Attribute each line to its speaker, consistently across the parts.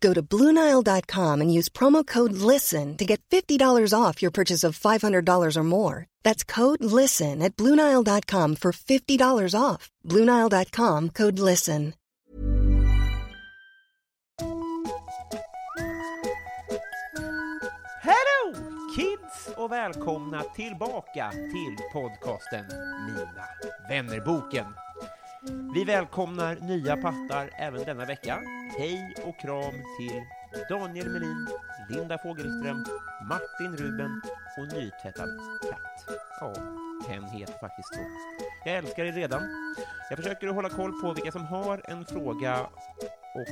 Speaker 1: Go to BlueNile.com and use promo code LISTEN to get $50 off your purchase of $500 or more. That's code LISTEN at BlueNile.com for $50 off. BlueNile.com code LISTEN.
Speaker 2: Hello kids och välkomna tillbaka till podcasten Mina vännerboken. Vi välkomnar nya pattar även denna vecka. Hej och kram till Daniel Melin, Linda Fogelström, Martin Ruben och nytvättad katt. Ja, hen heter faktiskt så. Jag älskar er redan. Jag försöker att hålla koll på vilka som har en fråga och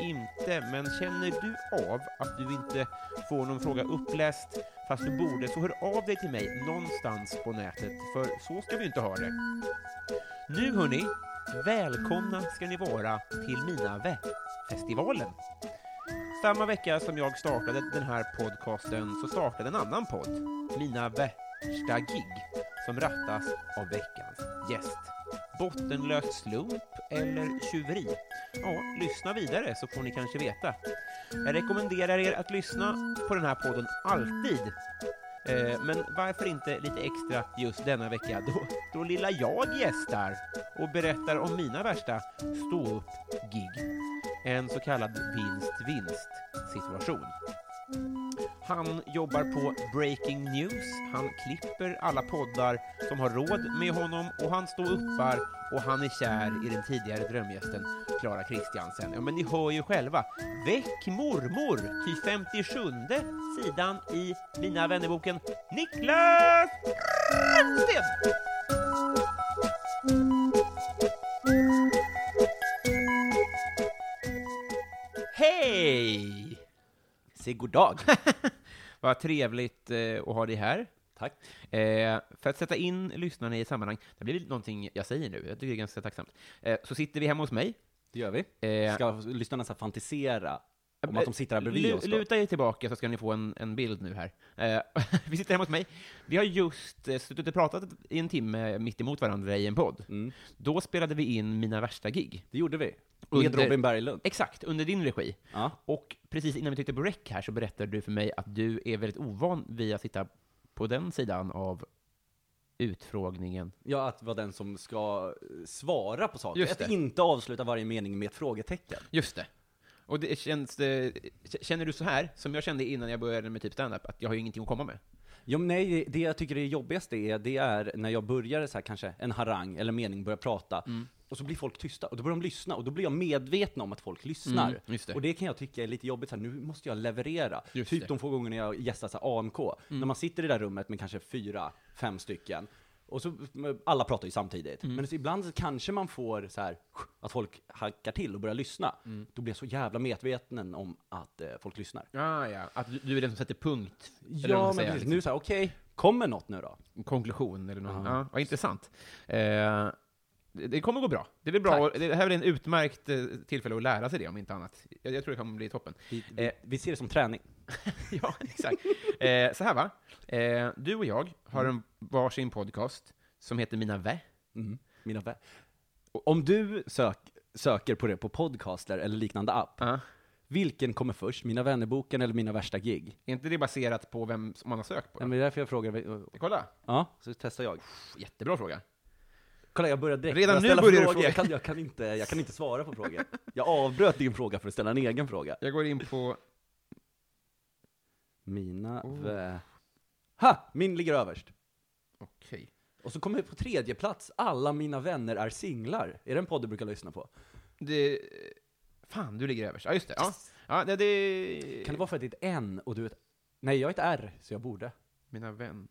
Speaker 2: eh, inte, men känner du av att du inte får någon fråga uppläst fast du borde, så hör av dig till mig någonstans på nätet, för så ska vi inte ha det. Nu hörni, välkomna ska ni vara till Mina vä-festivalen. Samma vecka som jag startade den här podcasten så startade en annan podd, Mina värsta gig, som rattas av veckans gäst. Bottenlös slump eller tjuveri? Ja, lyssna vidare så får ni kanske veta. Jag rekommenderar er att lyssna på den här podden alltid Eh, Men varför inte lite extra just denna vecka då, då lilla jag gästar och berättar om mina värsta stå-upp-gig. En så kallad vinst-vinst-situation. Han jobbar på Breaking News, han klipper alla poddar som har råd med honom och han står uppar och han är kär i den tidigare drömgästen Klara Kristiansen. Ja, men ni hör ju själva. Väck mormor! Ty 57 sidan i Mina vännerboken Niklas Ragnsten! Hej!
Speaker 3: Säg god dag.
Speaker 2: Vad trevligt eh, att ha dig här.
Speaker 3: Tack.
Speaker 2: Eh, för att sätta in lyssnarna i ett sammanhang, det blir någonting jag säger nu, jag tycker det är ganska tacksamt. Eh, så sitter vi hemma hos mig.
Speaker 3: Det gör vi.
Speaker 2: Eh,
Speaker 3: Ska lyssnarna så här fantisera om att de sitter här bredvid
Speaker 2: Lu-
Speaker 3: oss? Då?
Speaker 2: Luta er tillbaka så ska ni få en, en bild nu här. Eh, vi sitter hemma hos mig. Vi har just eh, suttit och pratat i en timme mitt emot varandra i en podd.
Speaker 3: Mm.
Speaker 2: Då spelade vi in mina värsta gig.
Speaker 3: Det gjorde vi. Med
Speaker 2: Under-
Speaker 3: Robin Berglund.
Speaker 2: Exakt, under din regi.
Speaker 3: Ja.
Speaker 2: Och precis innan vi tryckte på rec här så berättade du för mig att du är väldigt ovan vid att sitta på den sidan av utfrågningen.
Speaker 3: ja, att vara den som ska eh, svara på saker.
Speaker 2: Just
Speaker 3: Att
Speaker 2: det.
Speaker 3: inte avsluta varje mening med ett frågetecken.
Speaker 2: Just det. Och det känns, eh, k- känner du så här, som jag kände innan jag började med typ stand-up, att jag har ju ingenting att komma med?
Speaker 3: Jo, men nej, det jag tycker är jobbigaste är, det är när jag börjar så här, kanske en harang eller mening, börjar prata,
Speaker 2: Mm.
Speaker 3: och så blir folk tysta, och då börjar de lyssna, och då blir jag medveten om att folk lyssnar.
Speaker 2: Mm, just det.
Speaker 3: Och det kan jag tycka är lite jobbigt, så här, nu måste jag leverera.
Speaker 2: Just
Speaker 3: typ
Speaker 2: det. Mm.
Speaker 3: de få gångerna jag gästar så här, AMK, när man sitter i det där rummet med kanske fyra, fem stycken, och så, alla pratar ju samtidigt.
Speaker 2: Mm.
Speaker 3: Men så ibland så kanske man får så här, att folk hackar till och börjar lyssna.
Speaker 2: Mm.
Speaker 3: Då blir jag så jävla medveten om att eh, folk lyssnar.
Speaker 2: Ah, ja, att du, du är den som sätter punkt. eller vad man
Speaker 3: Ja, men
Speaker 2: säger,
Speaker 3: precis.
Speaker 2: liksom.
Speaker 3: Nu så här, okej, kommer något nu då?
Speaker 2: en konklusion eller något.
Speaker 3: Ja.
Speaker 2: Ja, vad intressant. Eh, det- det kommer gå bra. Det blir bra.
Speaker 3: Tack.
Speaker 2: och Det här är en utmärkt eh, tillfälle att lära sig det, om inte annat. Jag, jag tror det kommer bli toppen.
Speaker 3: Vi,
Speaker 2: Eh.
Speaker 3: vi, vi ser det som träning.
Speaker 2: ja, exakt. Eh, så här va. Eh, du och jag har en varsin podcast som heter Mina vä.
Speaker 3: Mina vä- Och Om du sök, söker på det på podcaster eller liknande app,
Speaker 2: Ja.
Speaker 3: vilken kommer först? Mina vännerboken eller mina värsta gig?
Speaker 2: Är inte det baserat på vem som man har sökt på?
Speaker 3: Nej, men det är därför jag frågar.
Speaker 2: Kolla.
Speaker 3: Ja, så testar jag.
Speaker 2: Jättebra fråga.
Speaker 3: Kolla, jag börjar direkt.
Speaker 2: Redan
Speaker 3: Jag
Speaker 2: nu
Speaker 3: ställer
Speaker 2: börjar du
Speaker 3: frågor.
Speaker 2: fråga.
Speaker 3: Jag kan, jag, kan inte, jag kan inte svara på frågor. Jag avbröt din fråga för att ställa en egen fråga.
Speaker 2: Jag går in på
Speaker 3: Mina
Speaker 2: Oh.
Speaker 3: vä... Ha! Min ligger överst.
Speaker 2: Okej.
Speaker 3: Och så kommer på tredje plats, Alla mina vänner är singlar. Är det en podd du brukar lyssna på?
Speaker 2: Det... Fan, du ligger överst. Ja, just det. Ja. Ja, nej, det...
Speaker 3: Kan det vara för att det är ett N och du är ett... Nej, jag är ett R, så jag borde.
Speaker 2: Mina vän.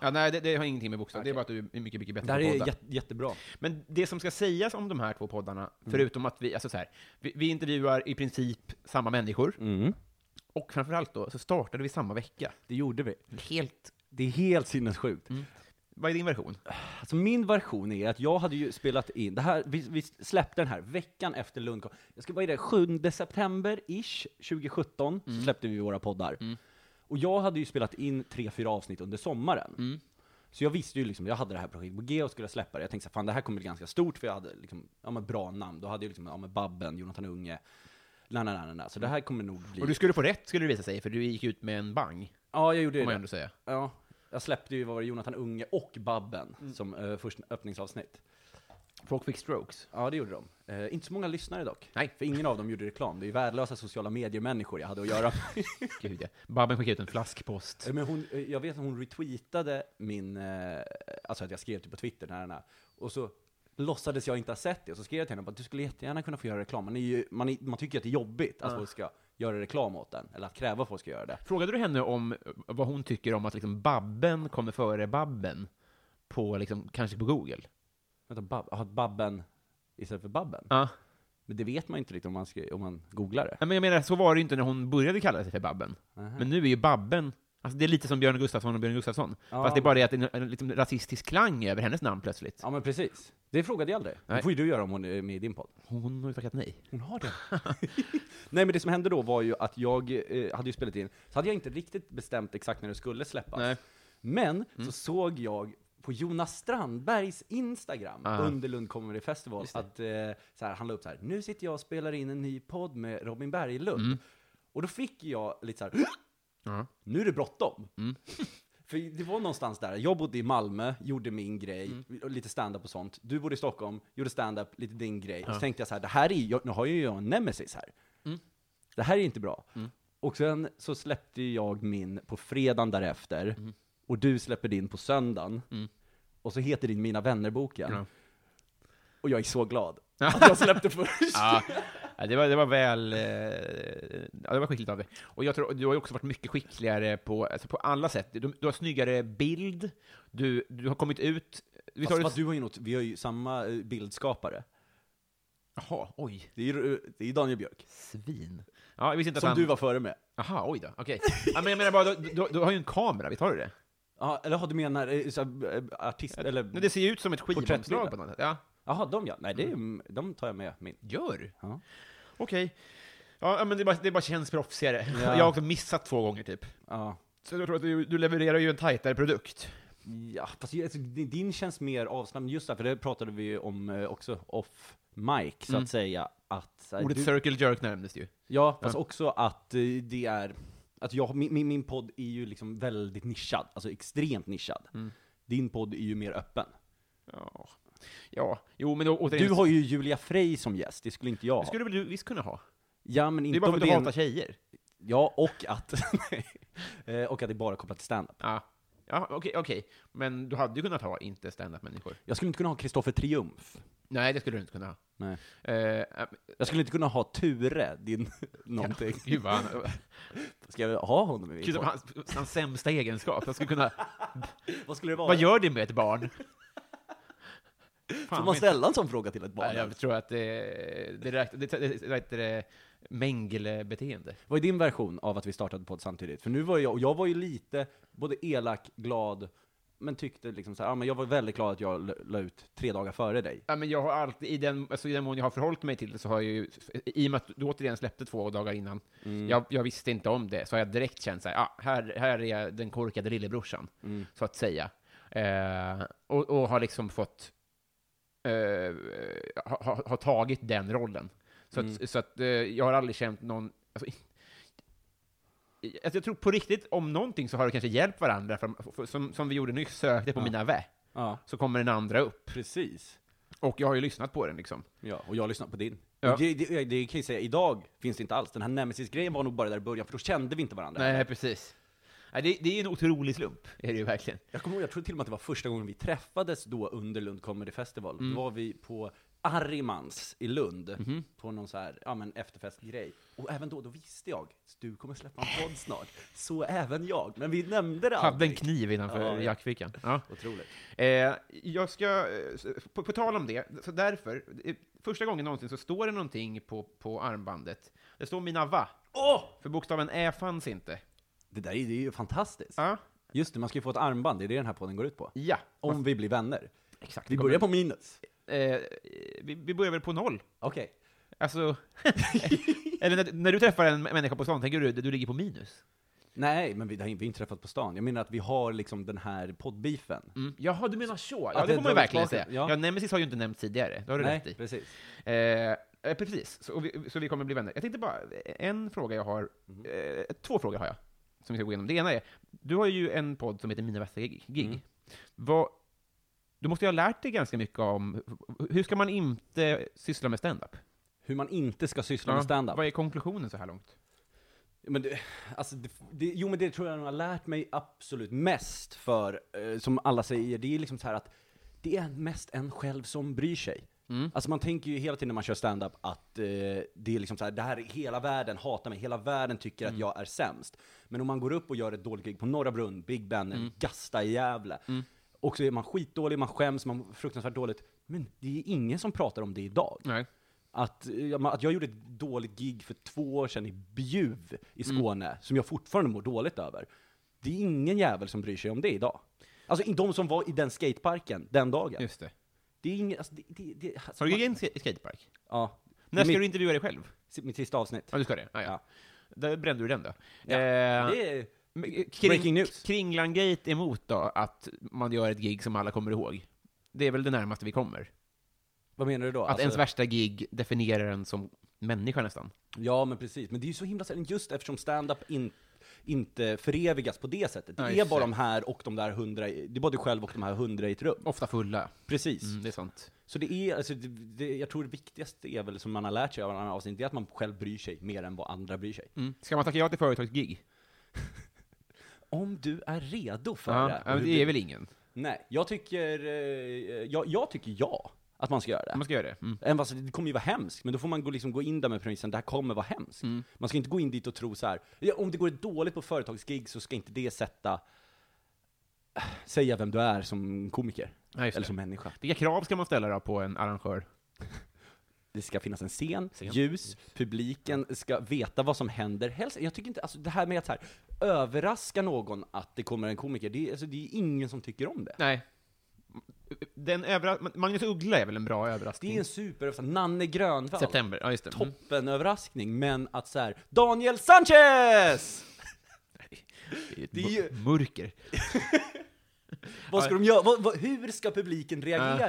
Speaker 2: Ja, nej, det, det har ingenting med bokstäver. Det är bara att du är mycket, mycket bättre
Speaker 3: Det här
Speaker 2: på
Speaker 3: är
Speaker 2: poddar.
Speaker 3: jät- jättebra.
Speaker 2: Men det som ska sägas om de här två poddarna,
Speaker 3: Mm.
Speaker 2: förutom att vi, alltså så här, vi, vi intervjuar i princip samma människor,
Speaker 3: Mm.
Speaker 2: och framförallt då så startade vi samma vecka.
Speaker 3: Det gjorde vi.
Speaker 2: Helt...
Speaker 3: Det är helt sinnessjukt.
Speaker 2: Mm. Vad är din version?
Speaker 3: Alltså min version är att jag hade ju spelat in, det här, vi, vi släppte den här veckan efter Lund kom. Jag ska vara i det, 7 september-ish 2017
Speaker 2: Mm.
Speaker 3: så släppte vi våra poddar. Och jag hade ju spelat in tre, fyra avsnitt under sommaren.
Speaker 2: Mm.
Speaker 3: Så jag visste ju liksom, jag hade det här projektet på G och skulle släppa det. Jag tänkte så här, fan det här kommer bli ganska stort för jag hade liksom, ja men bra namn. Då hade jag liksom, ja men Babben, Jonathan Unge, na, na, na, na, na. Så det här kommer nog bli...
Speaker 2: Och du skulle få rätt, skulle det visa sig, för du gick ut med en bang,
Speaker 3: ja, jag gjorde
Speaker 2: får
Speaker 3: ju
Speaker 2: man
Speaker 3: det.
Speaker 2: ändå säga.
Speaker 3: Ja, jag släppte ju vad var det, Jonathan Unge och Babben som eh, första öppningsavsnitt.
Speaker 2: Mm. Folk fick strokes.
Speaker 3: Ja, det gjorde de. Eh, inte så många lyssnare dock.
Speaker 2: Nej.
Speaker 3: För ingen av dem gjorde reklam. Det är ju värdelösa sociala medier-människor jag hade att göra med.
Speaker 2: Gud, ja. Babben skickade ut en flaskpost.
Speaker 3: Eh, Men hon, eh, jag vet att hon retweetade min, eh, alltså att jag skrev typ på Twitter, den här, den här. och så låtsades jag inte ha sett det, och så skrev jag till henne att du skulle jättegärna kunna få göra reklam. Man, är ju, man, är, man tycker ju att det är jobbigt att folk ska göra reklam åt den, eller att kräva att folk ska göra det.
Speaker 2: Frågade du henne om vad hon tycker om att liksom Babben kommer före Babben? På liksom, kanske på Google?
Speaker 3: Vänta, bab, aha, Babben istället för Babben?
Speaker 2: Ja.
Speaker 3: Men det vet man inte riktigt om man, skri, om man googlar det.
Speaker 2: Nej, Men jag menar, så var det ju inte när hon började kalla sig för Babben. Men nu är ju Babben, alltså det är lite som Björn Gustafsson och Björn Gustafsson.
Speaker 3: Ja.
Speaker 2: Fast det är bara det att det är en, en liksom rasistisk klang över hennes namn plötsligt.
Speaker 3: Ja men precis. Det frågade jag aldrig.
Speaker 2: Nej.
Speaker 3: Det får ju du göra om hon är med i din podd.
Speaker 2: Hon har ju tackat nej.
Speaker 3: Hon har det. Nej men det som hände då var ju att jag eh, hade ju spelat in, så hade jag inte riktigt bestämt exakt när det skulle släppas.
Speaker 2: Nej. Mm.
Speaker 3: Men så såg jag på Jonas Strandbergs Instagram
Speaker 2: Ah.
Speaker 3: under Lund Comedy Festival att eh, så här, han la upp så här, nu sitter jag och spelar in en ny podd med Robin Berglund. Och då fick jag lite så här,
Speaker 2: Mm. Ja. Mm.
Speaker 3: nu är det bråttom. För det var någonstans där, jag bodde i Malmö, gjorde min grej, och lite stand-up och sånt. Du bodde i Stockholm, gjorde stand-up, lite din grej. Och så tänkte jag så här, det här är ju, jag- nu har ju jag en nemesis här. Det här är inte bra. Och sen så släppte ju jag min på fredagen därefter, och du släpper din på söndagen. Och så heter din Mina vännerboken.
Speaker 2: Ja.
Speaker 3: Och jag är så glad att jag släppte först.
Speaker 2: Ja, Ja, det var, det var väl... Eh, ja, det var skickligt av dig. Och jag tror, du har ju också varit mycket skickligare på, alltså på alla sätt. Du, du har snyggare bild, du, du har kommit ut... Vi
Speaker 3: Fast,
Speaker 2: det-
Speaker 3: fast du har ju något, vi har ju samma eh, bildskapare.
Speaker 2: Jaha, oj.
Speaker 3: Det är ju eh, det är ju Daniel Björk,
Speaker 2: Svin. Ja, jag visste inte att
Speaker 3: som
Speaker 2: han...
Speaker 3: du var före med.
Speaker 2: Jaha, oj då. Okej. Ja, men jag menar bara, du, du, du har ju en kamera, visst har du det?
Speaker 3: Ja, eller har du menar eh, så, här, eh, artist, eller?
Speaker 2: Men det ser ju ut som ett skivomslag
Speaker 3: Porträttbilden.
Speaker 2: på något sätt. Ja,
Speaker 3: Jaha, de ja. Nej, det
Speaker 2: Mm.
Speaker 3: är, de tar jag med. Min.
Speaker 2: gör
Speaker 3: Ja.
Speaker 2: Okej. Ja, ja, men det bara, det bara känns proffsigare.
Speaker 3: Ja.
Speaker 2: Jag har också missat två gånger, typ.
Speaker 3: Ja.
Speaker 2: Så jag tror att du, du levererar ju en tajtare produkt.
Speaker 3: ja, fast ju- alltså, din din känns mer avslappnad, just därför, det pratade vi ju om eh, också off mic, så att säga. Att, så här,
Speaker 2: Mm. Ordet
Speaker 3: du-
Speaker 2: circle jerk nämndes ju.
Speaker 3: Ja, fast också att eh, det är, att jag, min, min- min podd är ju liksom väldigt nischad, alltså extremt nischad.
Speaker 2: Mm.
Speaker 3: Din podd är ju mer öppen.
Speaker 2: Ja. Ja, jo men då, återigen.
Speaker 3: Du har ju Julia Frey som gäst, det skulle inte jag ha.
Speaker 2: Det skulle väl du visst kunna ha?
Speaker 3: Ja, men
Speaker 2: Det är
Speaker 3: inte
Speaker 2: bara
Speaker 3: om
Speaker 2: för att
Speaker 3: det
Speaker 2: du
Speaker 3: är
Speaker 2: hatar
Speaker 3: en,
Speaker 2: tjejer.
Speaker 3: Ja, och att, Eh, och att det är bara kopplat till stand
Speaker 2: Ja. Ja, okej, okej. Men du hade ju kunnat ha inte stand-up människor.
Speaker 3: Jag skulle inte kunna ha Kristoffer Triumf.
Speaker 2: Nej, det skulle du inte kunna ha.
Speaker 3: Nej.
Speaker 2: Eh, äh,
Speaker 3: Jag skulle inte kunna ha Ture, din någonting.
Speaker 2: gud vad han,
Speaker 3: Ska jag ha honom i min
Speaker 2: gud,
Speaker 3: podd?
Speaker 2: hans, hans sämsta egenskap. Jag skulle kunna,
Speaker 3: Vad skulle det vara?
Speaker 2: vad gör det med ett barn? Fan,
Speaker 3: Får man
Speaker 2: men-
Speaker 3: ställa en sån fråga till ett barn?
Speaker 2: Nej, jag tror att det, det räknas, det, det, det, det, det Mengele-beteende.
Speaker 3: Vad är din version av att vi startade podd samtidigt? För nu var jag, och jag var ju lite, både elak, glad, men tyckte liksom så här, ja, men jag var väldigt glad att jag l- la ut tre dagar före dig.
Speaker 2: Ja, men jag har alltid, i den, alltså, i den mån jag har förhållit mig till det, så har jag ju, i och med att du återigen släppte två dagar innan, jag, jag visste inte om det, så har jag direkt känt så här, ah, här, här är jag den korkade lillebrorsan, så att säga. Eh, och, och har liksom fått, eh, har ha, ha tagit den rollen. Så att, så att eh, jag har aldrig känt någon, alltså, i- alltså, jag tror på riktigt, om någonting så har det kanske hjälpt varandra, för, för, som, som vi gjorde nyss, sökte på
Speaker 3: Ja.
Speaker 2: mina vä,
Speaker 3: Ja,
Speaker 2: så kommer den andra upp.
Speaker 3: precis.
Speaker 2: Och jag har ju lyssnat på den liksom.
Speaker 3: Ja, och jag lyssnade på din.
Speaker 2: Ja.
Speaker 3: Det, det, det kan jag säga, idag finns det inte alls. Den här Nemesis-grejen var nog bara där i början, för då kände vi inte varandra.
Speaker 2: Nej, precis. Nej, det, det är ju en otrolig slump, är det ju verkligen.
Speaker 3: Jag kommer ihåg, jag tror till och med att det var första gången vi träffades då under Lund Comedy Festival.
Speaker 2: Mm.
Speaker 3: Då var vi på Arrimans i Lund,
Speaker 2: Mhm.
Speaker 3: på någon så här, ja men efterfestgrej. Och även då, då visste jag, du kommer släppa en podd snart. Så även jag. Men vi nämnde det
Speaker 2: Hade en
Speaker 3: aldrig.
Speaker 2: kniv innanför
Speaker 3: Ja, ja.
Speaker 2: jackfickan. Ja.
Speaker 3: Otroligt.
Speaker 2: Eh, jag ska, eh, s- på, på tal om det, så därför, eh, första gången någonsin så står det någonting på, på armbandet. Det står mina va,
Speaker 3: Åh!
Speaker 2: för bokstaven ä fanns inte.
Speaker 3: Det där är det är ju fantastiskt.
Speaker 2: Ja,
Speaker 3: Just det, man ska ju få ett armband, det är det den här podden går ut på.
Speaker 2: ja.
Speaker 3: Om vi blir vänner.
Speaker 2: Exakt.
Speaker 3: Vi börjar på minus.
Speaker 2: Eh, vi, vi börjar väl på noll.
Speaker 3: Okej.
Speaker 2: Alltså, eller när, när du träffar en människa på stan, tänker du du ligger på minus?
Speaker 3: Nej, men vi, det har inte- vi har inte träffat på stan. Jag menar att vi har liksom den här poddbeefen.
Speaker 2: Mm. Jaha, du menar så? Ja,
Speaker 3: Att
Speaker 2: det
Speaker 3: det
Speaker 2: får man ju
Speaker 3: drar
Speaker 2: verkligen
Speaker 3: tillbaka.
Speaker 2: säga. Ja.
Speaker 3: Ja.
Speaker 2: Nemesis har ju inte nämnts tidigare, det har du
Speaker 3: Nej,
Speaker 2: rätt i.
Speaker 3: precis.
Speaker 2: Eh, eh, precis, så vi, så vi kommer bli vänner. Jag tänkte bara, en fråga jag har, eh, två frågor har jag, som vi ska gå igenom. Det ena är, du har ju en podd som heter Mina värsta gig.
Speaker 3: Mm.
Speaker 2: Vad, du måste ju ha lärt dig ganska mycket om, hur ska man inte syssla med stand-up?
Speaker 3: Hur man inte ska syssla med stand-up.
Speaker 2: Vad är konklusionen så här långt?
Speaker 3: Men det, alltså, det, det, jo men det tror jag nog har lärt mig absolut mest för, eh, som alla säger, det är liksom så här att det är mest en själv som bryr sig. Alltså man tänker ju hela tiden när man kör stand-up att eh, det är liksom så här, det här är hela världen hatar mig, hela världen tycker att jag är sämst. Men om man går upp och gör ett dåligt gig på Norra Brunn, Big Ben, eller Gasta i Gävle, och så är man skitdålig, man skäms, man mår fruktansvärt dåligt. Men det är ingen som pratar om det idag.
Speaker 2: Nej.
Speaker 3: Att, eh, ma- att jag gjorde ett dåligt gig för två år sedan i Bjuv i
Speaker 2: Mm.
Speaker 3: Skåne, som jag fortfarande mår dåligt över. Det är ingen jävel som bryr sig om det idag. Alltså i- de som var i den skateparken den dagen.
Speaker 2: Just det.
Speaker 3: Det är ingen, alltså, det, det, det, alltså,
Speaker 2: Har du
Speaker 3: man-
Speaker 2: egen sk- skatepark?
Speaker 3: Ja.
Speaker 2: När ska
Speaker 3: mitt,
Speaker 2: du intervjua dig själv?
Speaker 3: si- mitt sista avsnitt.
Speaker 2: Ja, du ska det? Ah, ja.
Speaker 3: Ja.
Speaker 2: Där brände du den då.
Speaker 3: Ja,
Speaker 2: Eh,
Speaker 3: Det är,
Speaker 2: Men
Speaker 3: Breaking news.
Speaker 2: Kringlangate emot då, att man gör ett gig som alla kommer ihåg. Det är väl det närmaste vi kommer.
Speaker 3: vad menar du då? Alltså,
Speaker 2: Att ens värsta gig definierar en som människa nästan.
Speaker 3: Ja, men precis. Men det är ju så himla sällan, just eftersom stand-up in, inte förevigas på det sättet. Det
Speaker 2: Ja,
Speaker 3: är
Speaker 2: just
Speaker 3: bara
Speaker 2: det.
Speaker 3: de här och de där hundra, i- det är bara du själv och de här hundra i ett rum.
Speaker 2: Ofta fulla.
Speaker 3: Precis.
Speaker 2: Mm, det är sant.
Speaker 3: Så det är, alltså, det, det, jag tror det viktigaste är väl, som man har lärt sig av andra avsnitt, det är att man själv bryr sig mer än vad andra bryr sig.
Speaker 2: Mm. Ska man tacka ja till företagsgig?
Speaker 3: Om du är redo för
Speaker 2: Ja,
Speaker 3: det.
Speaker 2: ja, men
Speaker 3: Och
Speaker 2: det
Speaker 3: hur-
Speaker 2: är väl ingen.
Speaker 3: Nej, jag tycker, eh, jag, jag tycker ja, att man ska göra det.
Speaker 2: Man ska göra det. Mm.
Speaker 3: Även fast det kommer ju vara hemskt, men då får man gå, liksom, gå in där med premissen, det här kommer vara hemskt.
Speaker 2: Mm.
Speaker 3: Man ska inte gå in dit och tro så här. Ja, om det går dåligt på företagsgig så ska inte det sätta, säga vem du är som komiker.
Speaker 2: Ja, just
Speaker 3: eller
Speaker 2: det.
Speaker 3: som människa.
Speaker 2: Vilka krav ska man ställa då på en arrangör?
Speaker 3: Det ska finnas en scen, ljus, publiken ska veta vad som händer. Helst, jag tycker inte, alltså det här med att så här, överraska någon att det kommer en komiker, det, är- alltså, det är ingen som tycker om det.
Speaker 2: Nej. Den övra- Magnus Uggla är väl en bra överraskning?
Speaker 3: Det är en superöverraskning. Nanne Grönvall.
Speaker 2: September, ja just det. Mm.
Speaker 3: Toppenöverraskning, men att så här, Daniel Sanchez!
Speaker 2: Det
Speaker 3: är
Speaker 2: är
Speaker 3: ju-
Speaker 2: ju... Mm. Mörker.
Speaker 3: Vad ska de göra? Vad, vad, hur ska publiken reagera?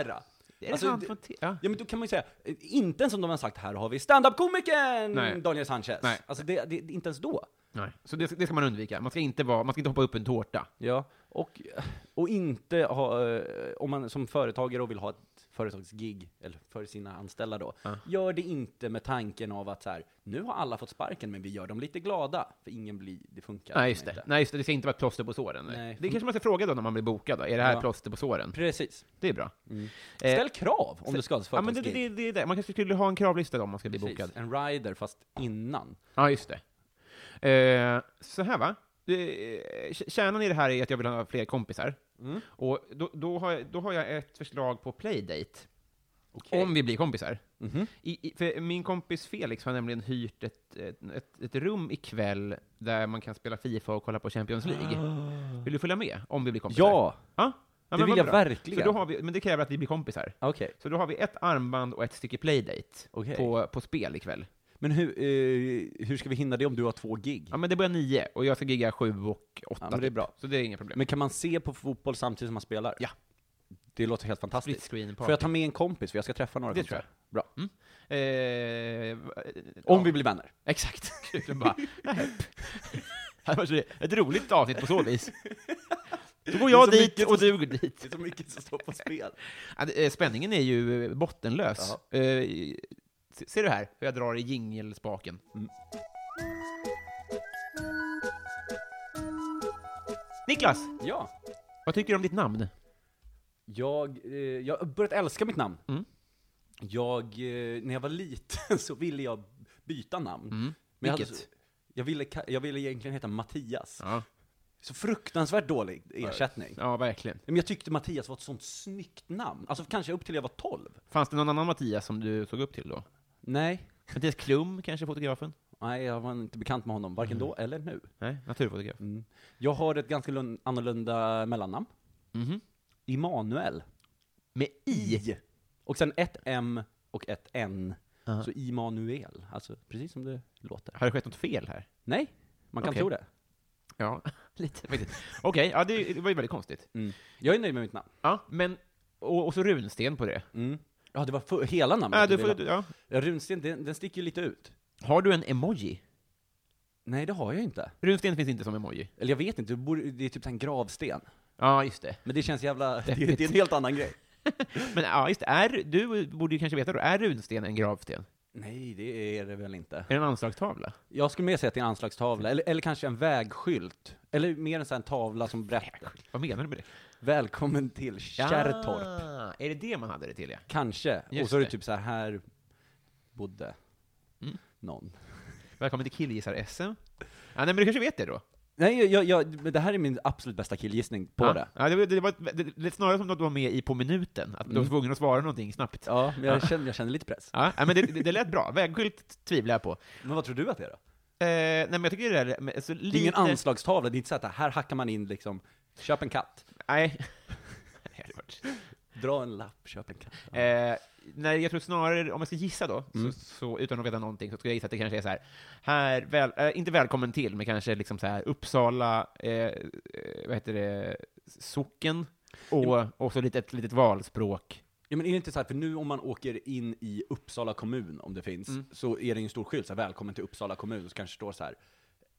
Speaker 2: Är det
Speaker 3: Alltså,
Speaker 2: han
Speaker 3: det-
Speaker 2: från T- ja.
Speaker 3: Ja men då kan man ju säga, eh, inte ens om de har sagt här har vi standup-komikern
Speaker 2: Nej.
Speaker 3: Daniel Sanchez.
Speaker 2: Nej.
Speaker 3: Alltså det, det, inte ens då.
Speaker 2: Nej. Så det, det ska man undvika. Man ska inte, vara, man ska inte hoppa upp en tårta.
Speaker 3: Ja, och, och inte ha, eh, om man som företagare och vill ha ett företagsgig, eller för sina anställda då, gör det inte med tanken av att så här, nu har alla fått sparken men vi gör dem lite glada, för ingen blir, det funkar liksom
Speaker 2: Nej just, det.
Speaker 3: inte.
Speaker 2: Nej, just det. Det ska inte vara ett plåster på såren.
Speaker 3: Nej.
Speaker 2: Nej. Det kanske man ska fråga då när man blir bokad. Då. Är det här
Speaker 3: Ja.
Speaker 2: plåster på såren?
Speaker 3: Precis.
Speaker 2: Det är bra. Eh,
Speaker 3: Ställ krav om du ska ha ett
Speaker 2: ja, men det,
Speaker 3: företagsgig.
Speaker 2: det, det, det, är det. Man kanske skulle ha en kravlista då om man ska bli
Speaker 3: Precis.
Speaker 2: bokad.
Speaker 3: En rider, fast innan.
Speaker 2: Ja, just det. Eh, så här va. Det- eh, k- Kärnan i det här är att jag vill ha fler kompisar.
Speaker 3: Mm.
Speaker 2: Och då, då, har jag, då har jag ett förslag på playdate. Om vi blir kompisar.
Speaker 3: Mhm.
Speaker 2: I, i, för min kompis Felix har nämligen hyrt ett, ett, ett, ett rum ikväll där man kan spela Fifa och kolla på Champions League. Vill du följa med? Om vi blir kompisar?
Speaker 3: Ah. Ja!
Speaker 2: ja? ja
Speaker 3: Det
Speaker 2: men
Speaker 3: vill
Speaker 2: vad
Speaker 3: jag
Speaker 2: bra.
Speaker 3: verkligen.
Speaker 2: Så då har vi, men det kräver att vi blir kompisar.
Speaker 3: Okej.
Speaker 2: Så då har vi ett armband och ett stycke playdate
Speaker 3: Okej.
Speaker 2: på, på spel ikväll.
Speaker 3: Men hur, eh, hur ska vi hinna det om du har två gig?
Speaker 2: Ja, men det börjar nio och jag ska gigga sju och åtta.
Speaker 3: Ja, men det är
Speaker 2: typ.
Speaker 3: bra.
Speaker 2: Så det är inga problem.
Speaker 3: Men kan man se på fotboll samtidigt som man spelar?
Speaker 2: Ja.
Speaker 3: Det låter helt fantastiskt.
Speaker 2: Split screen
Speaker 3: Får jag ta med en kompis? För jag ska träffa några
Speaker 2: Det
Speaker 3: kompisar.
Speaker 2: tror
Speaker 3: Bra.
Speaker 2: eh, va-
Speaker 3: Om
Speaker 2: ja.
Speaker 3: vi blir vänner.
Speaker 2: Exakt. Kuken bara, "Nähä." Det var så- ett roligt avsnitt på så vis. Då går jag
Speaker 3: Det är så
Speaker 2: dit
Speaker 3: mycket
Speaker 2: och du går dit.
Speaker 3: Det är så mycket som står på spel.
Speaker 2: Ja, det- eh, Spänningen är ju eh, bottenlös. Eh, Se- Ser du här hur jag drar i jingelspaken? Niklas,
Speaker 3: Ja.
Speaker 2: vad tycker du om ditt namn?
Speaker 3: Jag, eh, jag har börjat älska mitt namn.
Speaker 2: Mm.
Speaker 3: Jag, eh, när jag var liten så ville jag byta namn. Men jag, hade
Speaker 2: Mm. Vilket?
Speaker 3: så, jag, ville, ka- jag ville egentligen heta Mattias.
Speaker 2: Ja,
Speaker 3: Så fruktansvärt dålig ersättning.
Speaker 2: ja verkligen.
Speaker 3: Men jag tyckte Mattias var ett sånt snyggt namn. Alltså kanske upp till jag var 12.
Speaker 2: Fanns det någon annan Mattias som du såg upp till då?
Speaker 3: Nej.
Speaker 2: Mattias Klum, kanske fotografen?
Speaker 3: Nej, jag var inte bekant med honom,
Speaker 2: Mm.
Speaker 3: varken då eller nu.
Speaker 2: Nej, naturfotograf.
Speaker 3: Jag har ett ganska lun- annorlunda mellannamn.
Speaker 2: Mhm.
Speaker 3: Immanuel.
Speaker 2: Med
Speaker 3: I. Och sen ett M och ett N. Så Immanuel. Alltså precis som det låter.
Speaker 2: Har det skett något fel här?
Speaker 3: Nej, man kan
Speaker 2: Okej.
Speaker 3: tro det.
Speaker 2: Ja, lite faktiskt. Okej, ja, det, det var ju väldigt konstigt.
Speaker 3: Jag är nöjd med mitt namn. Mm.
Speaker 2: Ja, men, och, och så runsten på det.
Speaker 3: Ja, det var för, hela namnet.
Speaker 2: Ja, du
Speaker 3: ville
Speaker 2: får,
Speaker 3: ha.
Speaker 2: ja.
Speaker 3: Ja, runsten, den, den sticker ju lite ut.
Speaker 2: Har du en emoji?
Speaker 3: Nej, det har jag inte.
Speaker 2: Runsten finns inte som emoji.
Speaker 3: Eller jag vet inte, det, borde, det är typ så här en gravsten.
Speaker 2: Ja, just det.
Speaker 3: Men det känns jävla... Det,
Speaker 2: Deppigt.
Speaker 3: det är en helt annan grej.
Speaker 2: Men ja, just det. Är, du borde ju kanske veta då, är runsten en gravsten?
Speaker 3: Nej, det är det väl inte.
Speaker 2: Är det en anslagstavla?
Speaker 3: Jag skulle mer säga att det är en anslagstavla, eller, eller kanske en vägskylt. Eller mer en sån här tavla som berättar.
Speaker 2: Vad menar du med det?
Speaker 3: Välkommen till Kärrtorp.
Speaker 2: Ah, är det det man hade det till, ja?
Speaker 3: Kanske.
Speaker 2: Just
Speaker 3: och så är det
Speaker 2: det.
Speaker 3: typ så här, här bodde
Speaker 2: Mm.
Speaker 3: någon.
Speaker 2: Välkommen till killgissar-SM. Ja, nej, men du kanske vet det då?
Speaker 3: Nej, jag, jag, men det här är min absolut bästa killgissning på
Speaker 2: ja.
Speaker 3: det.
Speaker 2: Ja, det, var- det, var, det, det lät snarare som något du var med i på minuten, att du var
Speaker 3: Mm.
Speaker 2: tvungen att svara någonting snabbt. Ja.
Speaker 3: Ja, men jag känner, jag känner lite press.
Speaker 2: nej, men det, det, det lät bra. Vägskylt tvivlar jag på. Eh,
Speaker 3: Men vad tror du att det är då?
Speaker 2: nej, men jag tycker det där med, alltså,
Speaker 3: Det är ingen
Speaker 2: lite...
Speaker 3: anslagstavla, det är inte så att här hackar man in liksom, köp en katt,
Speaker 2: Nej. Nej, det var-
Speaker 3: dra en lapp, köp en katt.
Speaker 2: Eh, nej, jag tror snarare, om jag ska gissa då, så, så, utan att veta någonting, så skulle jag gissa att det kanske är så här, här väl, eh, inte välkommen till, men kanske liksom så här Uppsala, eh, eh, vad heter det, socken, och, och så lite, ett litet valspråk.
Speaker 3: Ja, men är det inte så här, för nu om man åker in i Uppsala kommun, om det finns,
Speaker 2: Mm.
Speaker 3: så är det ju en stor skylt, så här, välkommen till Uppsala kommun, så kanske det står så här,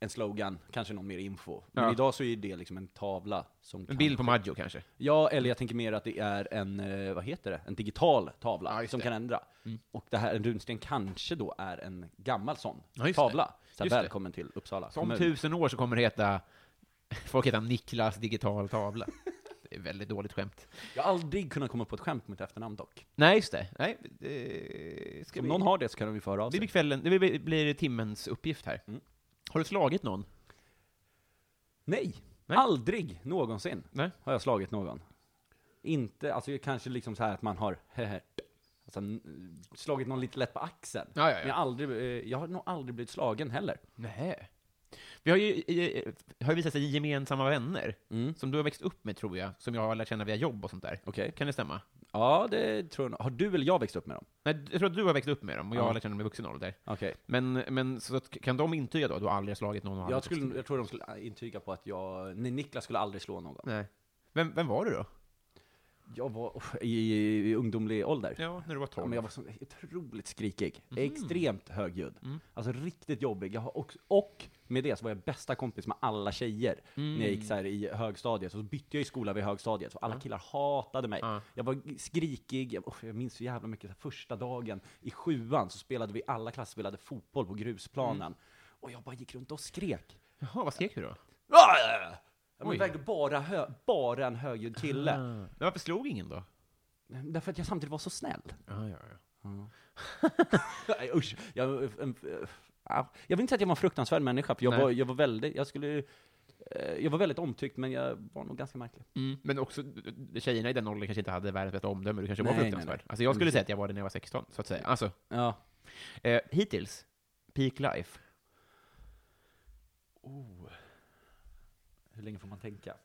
Speaker 3: en slogan, kanske någon mer info. Men
Speaker 2: Ja.
Speaker 3: idag så är det liksom en tavla som
Speaker 2: En bild på Maggio kanske.
Speaker 3: Ja, eller jag tänker mer att det är en, eh, vad heter det, en digital tavla som kan ändra.
Speaker 2: Mm.
Speaker 3: Och det här, en runsten kanske då är en gammal sån
Speaker 2: Ja, just
Speaker 3: tavla. Så här,
Speaker 2: Just det.
Speaker 3: välkommen till Uppsala
Speaker 2: Så om tusen år så kommer det heta, folk heter Niklas digital tavla. Det är väldigt dåligt skämt.
Speaker 3: Jag har aldrig kunnat komma på ett skämt med ett efternamn dock.
Speaker 2: Nej, just det. Nej, det ska
Speaker 3: Om
Speaker 2: vi...
Speaker 3: någon har det så kan de ju få höra av
Speaker 2: det blir
Speaker 3: sig.
Speaker 2: kvällen, det blir, blir timmens uppgift här. Har du slagit någon?
Speaker 3: Nej,
Speaker 2: Nej.
Speaker 3: aldrig någonsin
Speaker 2: Nej.
Speaker 3: har jag slagit någon. Inte, alltså kanske liksom så här att man har alltså, n- slagit någon lite lätt på axeln.
Speaker 2: Ja, ja, ja.
Speaker 3: Men jag, har aldrig, eh, jag har nog aldrig blivit slagen heller.
Speaker 2: Nej. Vi har ju i- i- har ju visat sig gemensamma vänner,
Speaker 3: Mm.
Speaker 2: som du har växt upp med tror jag, som jag har lärt känna via jobb och sånt där.
Speaker 3: Okej.
Speaker 2: Kan det stämma?
Speaker 3: Ja, det tror jag nog. Har du eller jag växt upp med dem?
Speaker 2: Nej, jag tror att du har växt upp med dem, och jag
Speaker 3: Ja.
Speaker 2: har lärt känna dem i vuxen ålder.
Speaker 3: Okej.
Speaker 2: Men, men så att, kan de intyga då att du aldrig har slagit någon? och aldrig
Speaker 3: Jag,
Speaker 2: växt upp
Speaker 3: skulle,
Speaker 2: med?
Speaker 3: jag tror de skulle intyga på att jag, nej, Niklas skulle aldrig slå någon.
Speaker 2: Nej. Vem, vem var du då?
Speaker 3: Jag var oh, i, i ungdomlig ålder. Ja. Mm.
Speaker 2: Ja, när du var
Speaker 3: men
Speaker 2: 12.
Speaker 3: jag var så otroligt skrikig. Extremt högljudd. Alltså riktigt jobbig. Jag har också, och med det så var jag bästa kompis med alla tjejer när jag gick så här i högstadiet. Och så bytte jag i skola vid högstadiet, så alla killar hatade mig.
Speaker 2: Ja.
Speaker 3: Jag var skrikig. Jag, oh, jag minns så jävla mycket. Så här, första dagen i sjuan så spelade vi, alla klasser spelade fotboll på grusplanen. Och jag bara gick runt och skrek.
Speaker 2: Jaha, vad skrek du då?
Speaker 3: Ah! Ja, men
Speaker 2: Oj.
Speaker 3: vägde bara, hö- bara en högljudd kille.
Speaker 2: Ah. Men varför slog ingen då?
Speaker 3: Därför att jag samtidigt var så snäll.
Speaker 2: Ja, ja, ja.
Speaker 3: Nej, Usch. Jag, en- en- ja. jag vill inte säga att jag var en fruktansvärd människa, för jag,
Speaker 2: Nej.
Speaker 3: var, jag var väldigt, jag skulle, eh, jag var väldigt omtyckt, men jag var nog ganska märklig.
Speaker 2: Mm. Men också, tjejerna i den åldern kanske inte hade världens bästa omdöme, du kanske
Speaker 3: Nej,
Speaker 2: var
Speaker 3: nej,
Speaker 2: fruktansvärd. Alltså jag skulle säga att jag var det när jag var 16, så att säga. Alltså,
Speaker 3: Ja.
Speaker 2: eh, hittills, peak life.
Speaker 3: Hur länge får man tänka?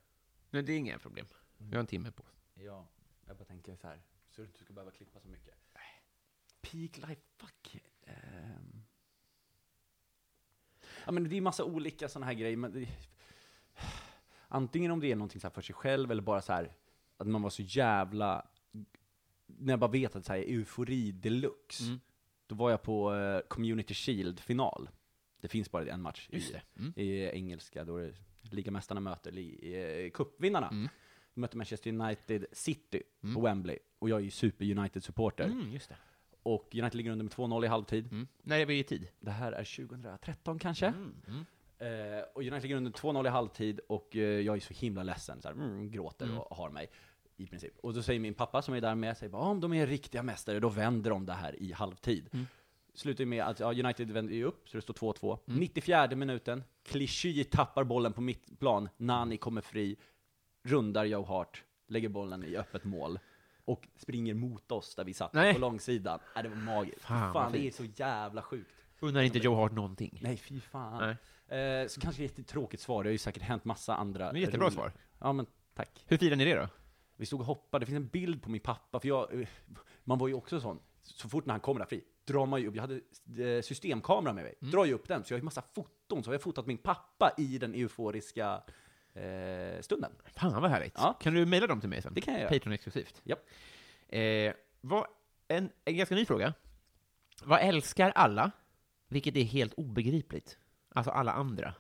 Speaker 2: Nej, det är inga problem. Vi har en timme på oss.
Speaker 3: Ja, jag bara tänker så här, så du inte ska behöva klippa så mycket. Peak life, fuck. Ehm. Ja men det är ju massa olika sådana här grejer, men det... Antingen om det är någonting så här för sig själv, eller bara så här att man var så jävla... När jag bara vet att så här, eufori deluxe,
Speaker 2: Mm.
Speaker 3: då var jag på eh, Community Shield-final. Det finns bara en match i,
Speaker 2: Mm.
Speaker 3: i engelska, då är det ligamästarna möter li, eh, cupvinnarna. De mötte Manchester United City på Wembley, och jag är ju super-United-supporter.
Speaker 2: Mm, just det.
Speaker 3: och United ligger under med 2-0 i halvtid.
Speaker 2: Mm. När är vi i tid? Mm.
Speaker 3: Det här är 2013 kanske? Eh, och United ligger under 2-0 i halvtid och eh, jag är så himla ledsen, så här, mm, gråter och har mig. I princip. Och då säger min pappa som är där med, säger bara, "Ah, om de är riktiga mästare, då vänder de det här i halvtid. Slutar ju med att ja, United vänder ju upp, så det står 2-2. 94 minuten, Clichy tappar bollen på mittplan, Nani kommer fri, rundar Joe Hart, lägger bollen i öppet mål och springer mot oss där vi satt
Speaker 2: Nej.
Speaker 3: på långsidan. Nej, det var magiskt.
Speaker 2: Fan,
Speaker 3: Fan,
Speaker 2: vad
Speaker 3: det är så jävla sjukt.
Speaker 2: Undrar inte Joe Hart någonting.
Speaker 3: Nej, fy fan. Eh, så kanske ett tråkigt svar, det har ju säkert hänt massa andra
Speaker 2: Men jättebra
Speaker 3: roller.
Speaker 2: svar.
Speaker 3: Ja, men tack.
Speaker 2: Hur firar ni det då?
Speaker 3: Vi stod och hoppade, det finns en bild på min pappa, för jag, eh, man var ju också sån. Så fort när han kommer där fri, drar man ju upp, jag hade eh, systemkamera med mig,
Speaker 2: Mm.
Speaker 3: drar ju upp den, så jag har ju massa foton, så har jag fotat min pappa i den euforiska eh, stunden.
Speaker 2: Fan vad härligt.
Speaker 3: Ja.
Speaker 2: Kan du mejla dem till mig sen?
Speaker 3: Det kan jag göra.
Speaker 2: Patreon exklusivt.
Speaker 3: Japp.
Speaker 2: Eh, vad, en, en ganska ny fråga. Vad älskar alla, vilket är helt obegripligt? Alltså alla andra.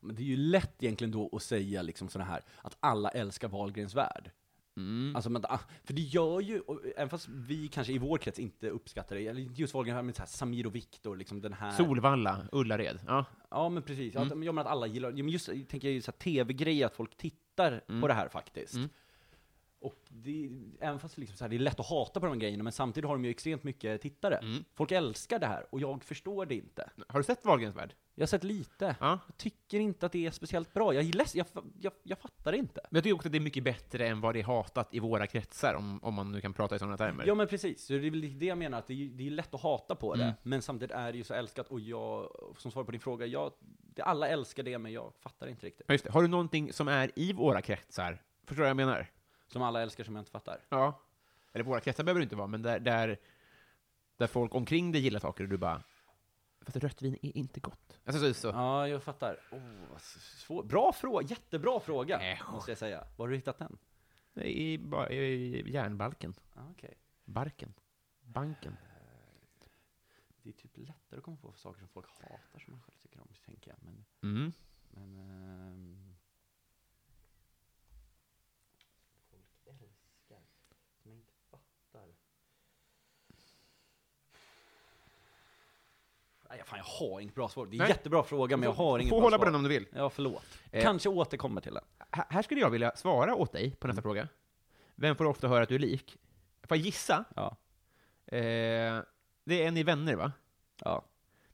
Speaker 3: Men det är ju lätt egentligen då att säga liksom sådana här, att alla älskar Wahlgrens värld. Alltså, men, ah, för det gör ju, och även fast vi kanske i vår krets inte uppskattar det, eller inte just Wahlgrens värld, men så här, Samir och Viktor, liksom den här...
Speaker 2: Solvalla, Ullared. Ja.
Speaker 3: Ja men precis, mm. jag menar att alla gillar, ja, men just jag tänker jag ju så här tv-grejer, att folk tittar på det här faktiskt. Och det, även fast det liksom så här, det är lätt att hata på de här grejerna, men samtidigt har de ju extremt mycket tittare. Folk älskar det här, och jag förstår det inte.
Speaker 2: Har du sett Wahlgrens värld?
Speaker 3: Jag har sett lite.
Speaker 2: Ja.
Speaker 3: Jag tycker inte att det är speciellt bra. Jag, är leds- jag, fa- jag, jag fattar det inte.
Speaker 2: Men jag tycker också att det är mycket bättre än vad det är hatat i våra kretsar, om, om man nu kan prata i sådana termer.
Speaker 3: Ja men precis, Så det är väl det jag menar, att det är, ju- det är lätt att hata på det, men samtidigt är det ju så älskat, och jag, som svar på din fråga, jag, det, alla älskar det, men jag fattar inte riktigt.
Speaker 2: Ja, Just det. Har du någonting som är i våra kretsar? Förstår du vad jag menar?
Speaker 3: Som alla älskar som jag inte fattar.
Speaker 2: Ja. Eller våra kretsar behöver det inte vara, men där, där, där folk omkring dig gillar saker och du bara Fast rött vin är inte gott. Alltså, så, så.
Speaker 3: Ja, jag fattar. Oh, vad s- svår. Bra fråga, jättebra fråga,
Speaker 2: Äsch.
Speaker 3: måste jag säga. Var har du hittat den?
Speaker 2: Nej, Alltså, I, ba- i järnbalken.
Speaker 3: Ah, okej.
Speaker 2: Barken. Banken.
Speaker 3: Det är typ lättare att komma på saker som folk hatar som man själv tycker om, tänker jag. Men,
Speaker 2: Mm.
Speaker 3: men ehm, Folk älskar som jag inte fattar. Nej, fan, jag har inget bra svar. Det är en
Speaker 2: Nej.
Speaker 3: jättebra fråga, men jag har inget
Speaker 2: Få
Speaker 3: bra
Speaker 2: hålla på
Speaker 3: svar.
Speaker 2: den om du vill.
Speaker 3: Ja, förlåt.
Speaker 2: Eh.
Speaker 3: Kanske återkommer till den.
Speaker 2: H- här skulle jag vilja svara åt dig
Speaker 3: Mm.
Speaker 2: på nästa fråga. Vem får ofta höra att du är lik? Får jag gissa?
Speaker 3: Ja.
Speaker 2: Eh, det är en i Vänner, va?
Speaker 3: Ja.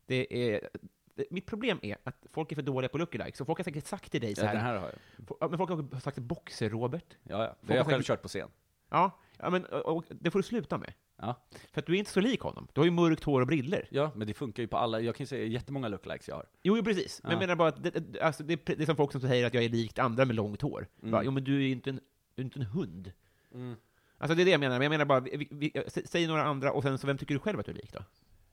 Speaker 2: Det är, det, mitt problem är att folk är för dåliga på lookalikes, så folk har säkert sagt till dig så
Speaker 3: ja,
Speaker 2: här.
Speaker 3: den här har jag.
Speaker 2: Fo- ja, Men folk har sagt Boxer-Robert.
Speaker 3: Ja, ja. Det
Speaker 2: har
Speaker 3: har jag själv
Speaker 2: sagt-
Speaker 3: kört på scen.
Speaker 2: Ja, ja men och, och, det får du sluta med.
Speaker 3: Ja.
Speaker 2: För att du är inte så lik honom. Du har ju mörkt hår och briller.
Speaker 3: Ja, men det funkar ju på alla. Jag kan ju säga jättemånga lookalikes jag har.
Speaker 2: Jo, jo precis. Men jag
Speaker 3: Ja.
Speaker 2: menar bara att det, det- alltså, det, är pre- det är som folk som säger att jag är likt andra med långt hår. Bara, jo, men du är ju inte en, du är inte en hund.
Speaker 3: Mm.
Speaker 2: Alltså det är det jag menar, men jag menar bara, vi, vi, vi, sä- säg några andra, och sen så vem tycker du själv att du är lik då?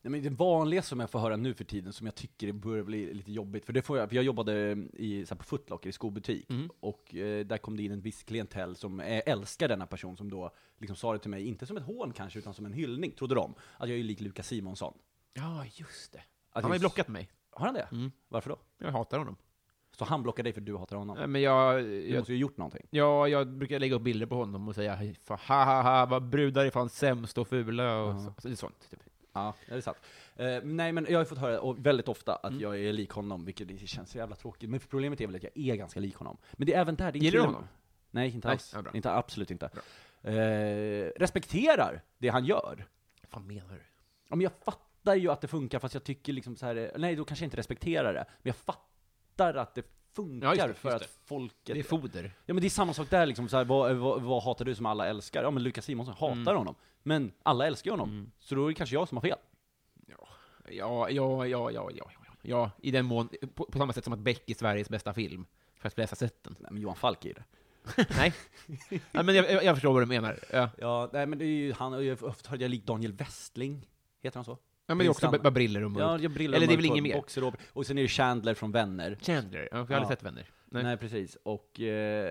Speaker 3: Nej, men det vanliga som jag får höra nu för tiden, som jag tycker börjar bli lite jobbigt, för det får jag, för jag jobbade i, så här, på Foot Locker i skobutik, och eh, där kom det in en viss klientell som eh, älskar denna person, som då liksom sa det till mig, inte som ett hån kanske, utan som en hyllning, trodde de, att jag är lik Lukas Simonsson.
Speaker 2: Ja, just det. han
Speaker 3: Att
Speaker 2: har ju
Speaker 3: just-
Speaker 2: blockat mig.
Speaker 3: Har han det? Varför då?
Speaker 2: Jag hatar honom.
Speaker 3: Så han blockar dig för du hatar honom?
Speaker 2: Nej, Men jag,
Speaker 3: Du
Speaker 2: Eh, jag,
Speaker 3: måste ju ha gjort någonting.
Speaker 2: ja, jag brukar lägga upp bilder på honom och säga "Fa- ha ha ha, vad brudar är fan sämst och fula och så, så, det är sånt. Typ.
Speaker 3: Ja, det är sant. Eh, nej, men jag har ju fått höra och väldigt ofta att
Speaker 2: Mm.
Speaker 3: jag är lik honom, vilket det känns så jävla tråkigt. Men problemet är väl att jag är ganska lik honom. Men det är även där det är
Speaker 2: Gillar du
Speaker 3: kul-
Speaker 2: honom?
Speaker 3: Nej, inte
Speaker 2: Nej,
Speaker 3: alls.
Speaker 2: ja, bra.
Speaker 3: inte, absolut inte. Eh, respekterar det han gör.
Speaker 2: Vad fan menar du?
Speaker 3: Ja, men jag fattar ju att det funkar, fast jag tycker liksom så här, eh, nej då kanske jag inte respekterar det, men jag fattar att det funkar
Speaker 2: Ja, just det,
Speaker 3: för
Speaker 2: just
Speaker 3: att folket...
Speaker 2: Det är foder.
Speaker 3: Ja men det är samma sak där liksom, så här, vad, vad, vad hatar du som alla älskar? Ja men Lukas Simonsson hatar
Speaker 2: Mm.
Speaker 3: honom, men alla älskar ju honom, så då är det kanske jag som har fel.
Speaker 2: Ja, ja, ja, ja, ja, ja. ja i den mån, på, på samma sätt som att Beck är Sveriges bästa film, för att på dessa sätten.
Speaker 3: Nej, men Johan Falk är ju det.
Speaker 2: Nej. ja, men jag, jag- jag förstår vad du menar. Ja,
Speaker 3: Ja, nej men det är ju, han har ju ofta hört jag lik Daniel Westling, heter han så?
Speaker 2: ja men det är också
Speaker 3: Samma.
Speaker 2: bara briller och
Speaker 3: Ja,
Speaker 2: mörkt.
Speaker 3: jag brillar
Speaker 2: Eller det är
Speaker 3: mörkt
Speaker 2: väl inget
Speaker 3: hår,
Speaker 2: mer?
Speaker 3: boxer och- Och sen är det Chandler från Vänner.
Speaker 2: Chandler, ja, jag har aldrig
Speaker 3: Ja.
Speaker 2: sett Vänner. Nej.
Speaker 3: Nej, precis, och... Eh,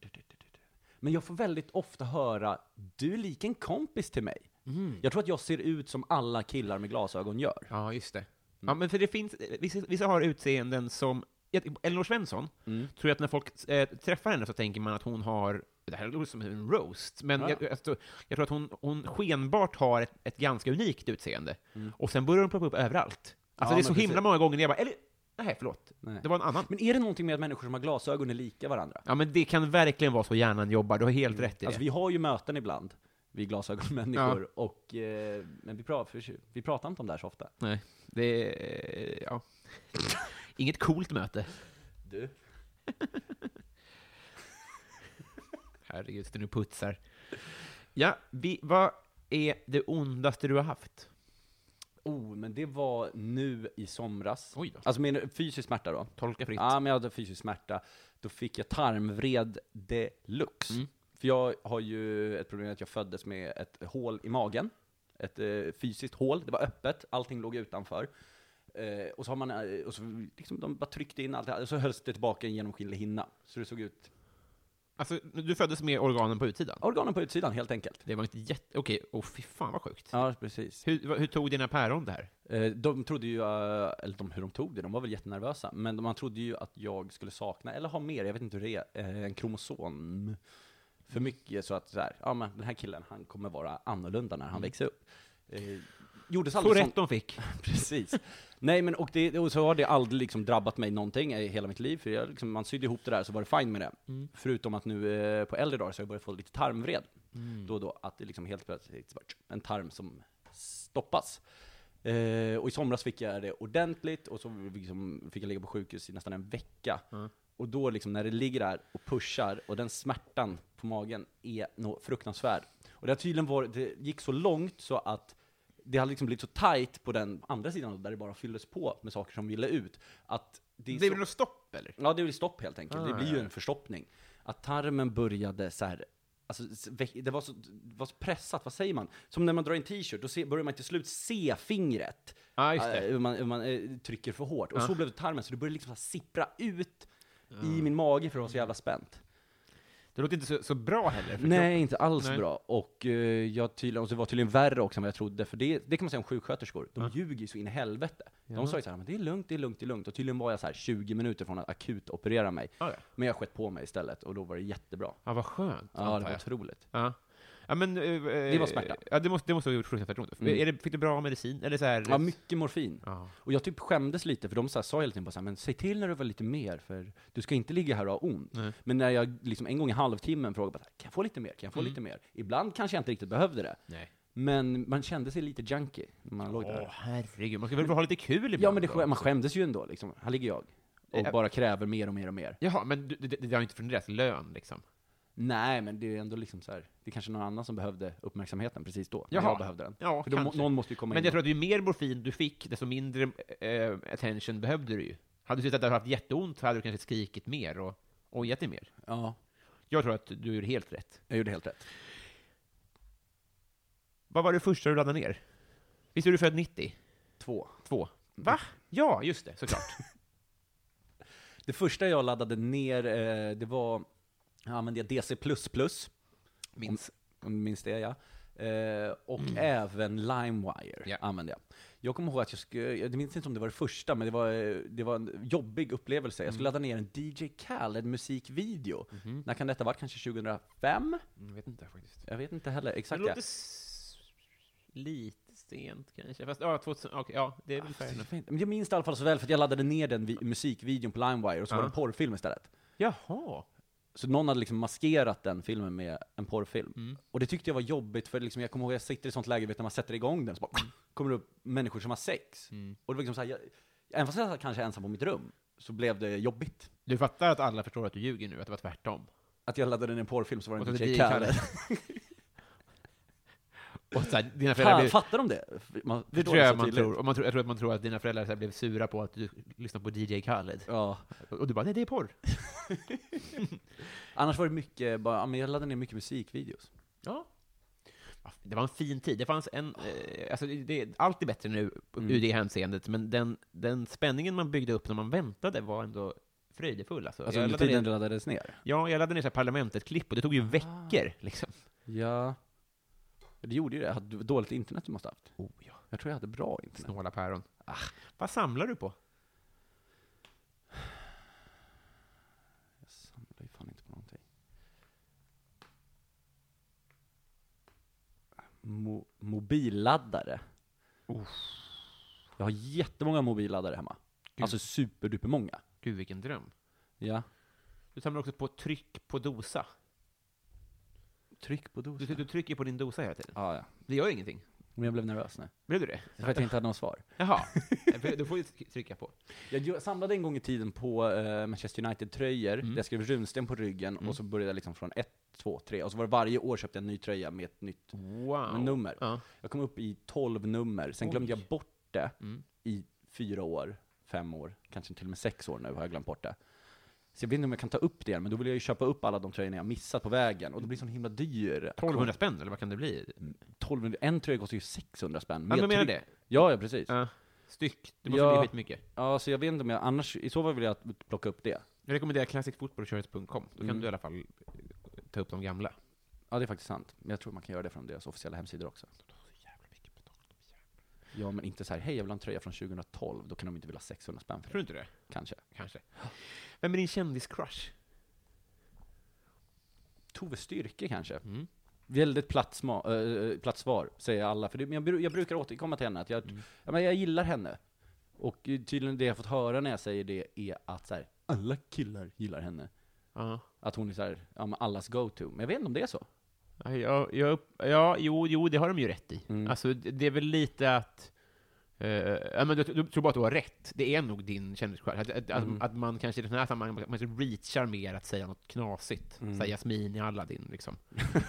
Speaker 3: du, du, du, du, du. men jag får väldigt ofta höra, du är lik en kompis till mig. Jag tror att jag ser ut som alla killar med glasögon gör. Mm.
Speaker 2: Ja, just det. Ja, men för det finns, vissa, vissa har utseenden som jag- Elinor Svensson, tror jag att när folk eh, träffar henne så tänker man att hon har, det här låter som en roast, men
Speaker 3: Ja.
Speaker 2: jag, jag, tror- jag tror att hon, hon skenbart har ett, ett ganska unikt utseende. Och sen börjar hon ploppa upp överallt. Alltså
Speaker 3: Mm. Ja,
Speaker 2: det är så
Speaker 3: men
Speaker 2: himla
Speaker 3: precis.
Speaker 2: många gånger när jag bara, eller, nej förlåt,
Speaker 3: Nej.
Speaker 2: det var en annan.
Speaker 3: Men är det någonting med att människor som har glasögon är lika varandra?
Speaker 2: Ja men det kan verkligen vara så hjärnan jobbar, du har helt rätt i det.
Speaker 3: Alltså vi har ju möten ibland, vi glasögonmänniskor, och, eh, men vi, pra, för, vi pratar inte om det här så ofta.
Speaker 2: Nej, det är, eh, ja. Inget coolt möte.
Speaker 3: Du?
Speaker 2: Herregud, sitter nu och putsar. Ja, vi, vad är det ondaste du har haft?
Speaker 3: Oh, men det var nu i somras.
Speaker 2: Oj då.
Speaker 3: Alltså min fysisk smärta då.
Speaker 2: Tolka fritt.
Speaker 3: Ja, men jag hade fysisk smärta. Då fick jag tarmvred deluxe. För jag har ju ett problem att jag föddes med ett hål i magen. Ett eh, fysiskt hål. Det var öppet, allting låg utanför. Eh, och så har man, eh, och så liksom de bara tryckte in allt, och så hölls det tillbaka i en genomskinlig hinna. Så det såg ut,
Speaker 2: Alltså, du föddes med organen på utsidan?
Speaker 3: organen på utsidan helt enkelt.
Speaker 2: Det var inte jätte... Okej, åh fy fan vad sjukt.
Speaker 3: Ja, precis.
Speaker 2: Hur, vad- hur tog dina päron det här?
Speaker 3: Eh, De trodde ju, eh, eller de, hur de tog det, de var väl jättenervösa. Men de- man trodde ju att jag skulle sakna, eller ha mer, jag vet inte hur det är, eh, en kromosom för mycket. Så att så här, ja men den här killen, han kommer vara annorlunda när han växer upp. Eh, gjordes
Speaker 2: Så
Speaker 3: aldrig
Speaker 2: rätt
Speaker 3: sånt.
Speaker 2: de fick.
Speaker 3: Precis. Nej men och, det, och så har det aldrig liksom drabbat mig någonting i hela mitt liv, för jag, liksom, man sydde ihop det där så var det fine med det. Förutom att nu eh, på äldre dagar så har jag börjat få lite tarmvred
Speaker 2: Mm.
Speaker 3: då och då, att det liksom helt plötsligt bara, tsk, en tarm som stoppas. Eh, och i somras fick jag det ordentligt, och så liksom fick jag ligga på sjukhus i nästan en vecka. Och då liksom, när det ligger där och pushar, och den smärtan på magen är nå fruktansvärd. Och det har tydligen varit, det gick så långt så att det hade liksom blivit så tight på den andra sidan, där det bara fylldes på med saker som ville ut, att det är
Speaker 2: Det
Speaker 3: så-
Speaker 2: blev något stopp eller?
Speaker 3: Ja, det blir stopp helt enkelt. det
Speaker 2: Ah,
Speaker 3: blir ju
Speaker 2: ja.
Speaker 3: en förstoppning. Att tarmen började så här, alltså, s- vä- det var så, det var så pressat, vad säger man? Som när man drar en t-shirt, då se, börjar man till slut se fingret.
Speaker 2: Ja, just det. Ah.
Speaker 3: Eh, hur man, hur man eh, trycker för hårt. Och så blev det tarmen, så det började liksom så här sippra ut i min mage för det var så jävla spänt.
Speaker 2: Det låter inte så, så bra heller. för
Speaker 3: Nej,
Speaker 2: kroppen.
Speaker 3: inte alls
Speaker 2: Nej.
Speaker 3: bra. Och, eh, jag tydligen, och det var tydligen värre också än vad jag trodde, för det, det kan man säga om sjuksköterskor,
Speaker 2: Ah.
Speaker 3: de ljuger ju så in i helvete. De sa ju såhär, men det är lugnt, det är lugnt, det är lugnt. Och tydligen var jag så här 20 minuter från att akut operera mig.
Speaker 2: Ja, ja.
Speaker 3: Men jag skett på mig istället, och då var det jättebra.
Speaker 2: Ja, vad skönt.
Speaker 3: Ja,
Speaker 2: antar
Speaker 3: det var
Speaker 2: jag.
Speaker 3: otroligt.
Speaker 2: Ja. Ja, men, det
Speaker 3: var smärta.
Speaker 2: Ja, det måste, det måste ha gjort fruktansvärt ont.
Speaker 3: Mm.
Speaker 2: Är det, fick du bra medicin? Eller så här,
Speaker 3: Ja, mycket morfin.
Speaker 2: Ja.
Speaker 3: Och jag typ skämdes lite, för de så här, sa hela tiden bara så här, men säg till när du var lite mer, för du ska inte ligga här och ha ont.
Speaker 2: Nej.
Speaker 3: Men när jag liksom en gång i halvtimmen frågade bara, så här, kan jag få lite mer, kan jag
Speaker 2: Mm.
Speaker 3: få lite mer? Ibland kanske jag inte riktigt behövde det.
Speaker 2: Nej.
Speaker 3: Men man kände sig lite junkie när man låg
Speaker 2: Åh,
Speaker 3: där.
Speaker 2: herregud. Man ska väl bara ha lite kul ibland?
Speaker 3: Mm. Ja men det,
Speaker 2: då?
Speaker 3: skä- man skämdes ju ändå liksom. Här ligger jag. Och
Speaker 2: Eh,
Speaker 3: bara kräver mer och mer och mer.
Speaker 2: Jaha, men du- det, det, det har inte från deras lön liksom?
Speaker 3: Nej men det är ändå liksom så här. det är kanske någon annan som behövde uppmärksamheten precis då. När
Speaker 2: Jaha.
Speaker 3: jag behövde den.
Speaker 2: Ja,
Speaker 3: För då, må-
Speaker 2: kanske.
Speaker 3: någon måste ju komma
Speaker 2: Men
Speaker 3: in.
Speaker 2: jag tror att ju mer morfin du fick, desto mindre eh, attention behövde du ju. Hade du sett att du hade haft jätteont så hade du kanske skrikit mer och ojat dig mer.
Speaker 3: Ja,
Speaker 2: Jag tror att du gjorde helt rätt.
Speaker 3: jag gjorde helt rätt.
Speaker 2: Vad var det första du laddade ner? Visst är du född 90?
Speaker 3: Två.
Speaker 2: Två? Va? Ja, just det, såklart.
Speaker 3: Det första jag laddade ner, eh, det var, jag använde DC++.
Speaker 2: Minns.
Speaker 3: Om du minns det ja. Eh, och även LimeWire
Speaker 2: Ja.
Speaker 3: använde jag. Jag kommer ihåg att jag skulle, jag minns inte om det var det första, men det var, eh, det var en jobbig upplevelse. Jag skulle ladda ner en DJ Khaled musikvideo. När kan detta ha varit? Kanske 2005?
Speaker 2: Mm-hmm. Mm, Jag vet inte faktiskt.
Speaker 3: Jag vet inte heller
Speaker 2: Det
Speaker 3: exakt.
Speaker 2: låter s- lite sent kanske. Fast ja, 2000, okej, ja, det är väl fair
Speaker 3: Jag,
Speaker 2: enough.
Speaker 3: men jag minns det i alla fall så väl för att jag laddade ner den vi- musikvideon på LimeWire och så var det
Speaker 2: Ja.
Speaker 3: en porrfilm istället.
Speaker 2: Jaha.
Speaker 3: Så någon hade liksom maskerat den filmen med en porrfilm. Och det tyckte jag var jobbigt för liksom, jag kommer ihåg att jag sitter i sånt läge, vet när man sätter igång den så bara, kommer det upp människor som har sex. Och det var liksom så här, jag, även fast jag satt kanske ensam på mitt rum, så blev det jobbigt.
Speaker 2: Du fattar att alla förstår att du ljuger nu, att det var tvärtom?
Speaker 3: Att jag laddade ner en porrfilm så var det
Speaker 2: Och
Speaker 3: en
Speaker 2: så
Speaker 3: DJ
Speaker 2: DJ
Speaker 3: Khaled.
Speaker 2: Och så här, dina föräldrar
Speaker 3: Fan,
Speaker 2: blir...
Speaker 3: Fattar de det? Man
Speaker 2: Det
Speaker 3: förstår
Speaker 2: tror jag
Speaker 3: så
Speaker 2: man
Speaker 3: tydligt.
Speaker 2: tror. Och man tror. Jag tror att man tror att dina föräldrar så här blev sura på att du lyssnade på DJ Khaled.
Speaker 3: Ja.
Speaker 2: Och du bara, nej det är porr.
Speaker 3: Annars var det mycket, bara, ja, men jag laddade ner mycket musikvideos.
Speaker 2: Ja. Det var en fin tid. Det fanns en, eh, alltså det, allt är bättre nu
Speaker 3: Mm.
Speaker 2: ur det hänseendet, men den, den spänningen man byggde upp när man väntade var ändå fröjdefull. Alltså.
Speaker 3: Alltså
Speaker 2: jag,
Speaker 3: under
Speaker 2: laddade
Speaker 3: tiden Ah. det
Speaker 2: ner,
Speaker 3: laddades ner.
Speaker 2: ja, jag laddade ner så här Parlamentet-klipp och det tog ju veckor. Liksom.
Speaker 3: Ja. Det gjorde ju det. Jag hade dåligt internet du måste ha haft.
Speaker 2: Oh, ja.
Speaker 3: Jag
Speaker 2: Ah,
Speaker 3: tror jag hade bra internet.
Speaker 2: Snåla päron. Vad samlar du på?
Speaker 3: Mo- mobilladdare. Jag har jättemånga mobilladdare hemma. Alltså superdupermånga.
Speaker 2: Gud, vilken dröm.
Speaker 3: Ja.
Speaker 2: Du samlar också på tryck på dosa.
Speaker 3: Tryck på
Speaker 2: Du,
Speaker 3: dosan.
Speaker 2: du trycker på din dosa hela tiden.
Speaker 3: Ja, ja.
Speaker 2: Det gör ingenting.
Speaker 3: Men jag blev nervös nu.
Speaker 2: Blev du det?
Speaker 3: För att jag inte hade något svar.
Speaker 2: Jaha. För Då får du trycka på.
Speaker 3: Jag gö- samlade en gång i tiden på eh, Manchester United-tröjor, där jag skrev runsten på ryggen, och så började jag liksom från 1, 2, 3, och så var det varje år köpte jag en ny tröja med ett nytt
Speaker 2: Wow.
Speaker 3: nummer.
Speaker 2: Ja.
Speaker 3: Jag kom upp i 12 nummer, sen glömde jag bort det
Speaker 2: Mm.
Speaker 3: i fyra år, fem år, kanske till och med sex år nu har jag glömt bort det. Så jag vet inte om jag kan ta upp det igen, men då vill jag ju köpa upp alla de tröjorna jag missat på vägen, och då blir det så himla dyr.
Speaker 2: 1200 spänn, eller vad kan det bli?
Speaker 3: 1200, en tröja kostar ju 600 spänn.
Speaker 2: men jag menar
Speaker 3: tryck.
Speaker 2: det.
Speaker 3: Ja, ja precis.
Speaker 2: Ja. Styck. Det måste
Speaker 3: Ja.
Speaker 2: bli mycket.
Speaker 3: Ja, så jag vet inte om jag, annars, i så fall vill jag plocka upp det.
Speaker 2: Jag rekommenderar classicfotbollkörelse.com. Då kan du i alla fall eh, ta upp de gamla.
Speaker 3: Ja, det är faktiskt sant. Men jag tror man kan göra det från deras officiella hemsidor också. Ja, men inte så här, hej jag vill ha en tröja från 2012, då kan de inte vilja ha 600 spänn för
Speaker 2: Tror du inte
Speaker 3: det.
Speaker 2: det?
Speaker 3: Kanske.
Speaker 2: Kanske. Vem är din kändiscrush?
Speaker 3: Tove Styrke kanske.
Speaker 2: Mm.
Speaker 3: Väldigt platt, sma, äh, platt svar, säger alla. För det, men jag, bru- jag brukar återkomma till henne, att jag,
Speaker 2: Mm.
Speaker 3: ja, men jag gillar henne. Och tydligen det jag fått höra när jag säger det är att så här, alla killar gillar henne.
Speaker 2: Ja.
Speaker 3: Att hon är så här, ja, men allas go-to. Men jag vet inte om det är så.
Speaker 2: Ja, jag, jag, upp- ja jo, jo, det har de ju rätt i. Alltså, det det är väl lite att... eh, ja, men du, du tror bara att du har rätt. Det är nog din kändiscrush. Att, att, att, att man kanske i den här sammanhanget man kanske reachar mer att säga något knasigt. Mm. Säga Jasmin i Aladdin, liksom.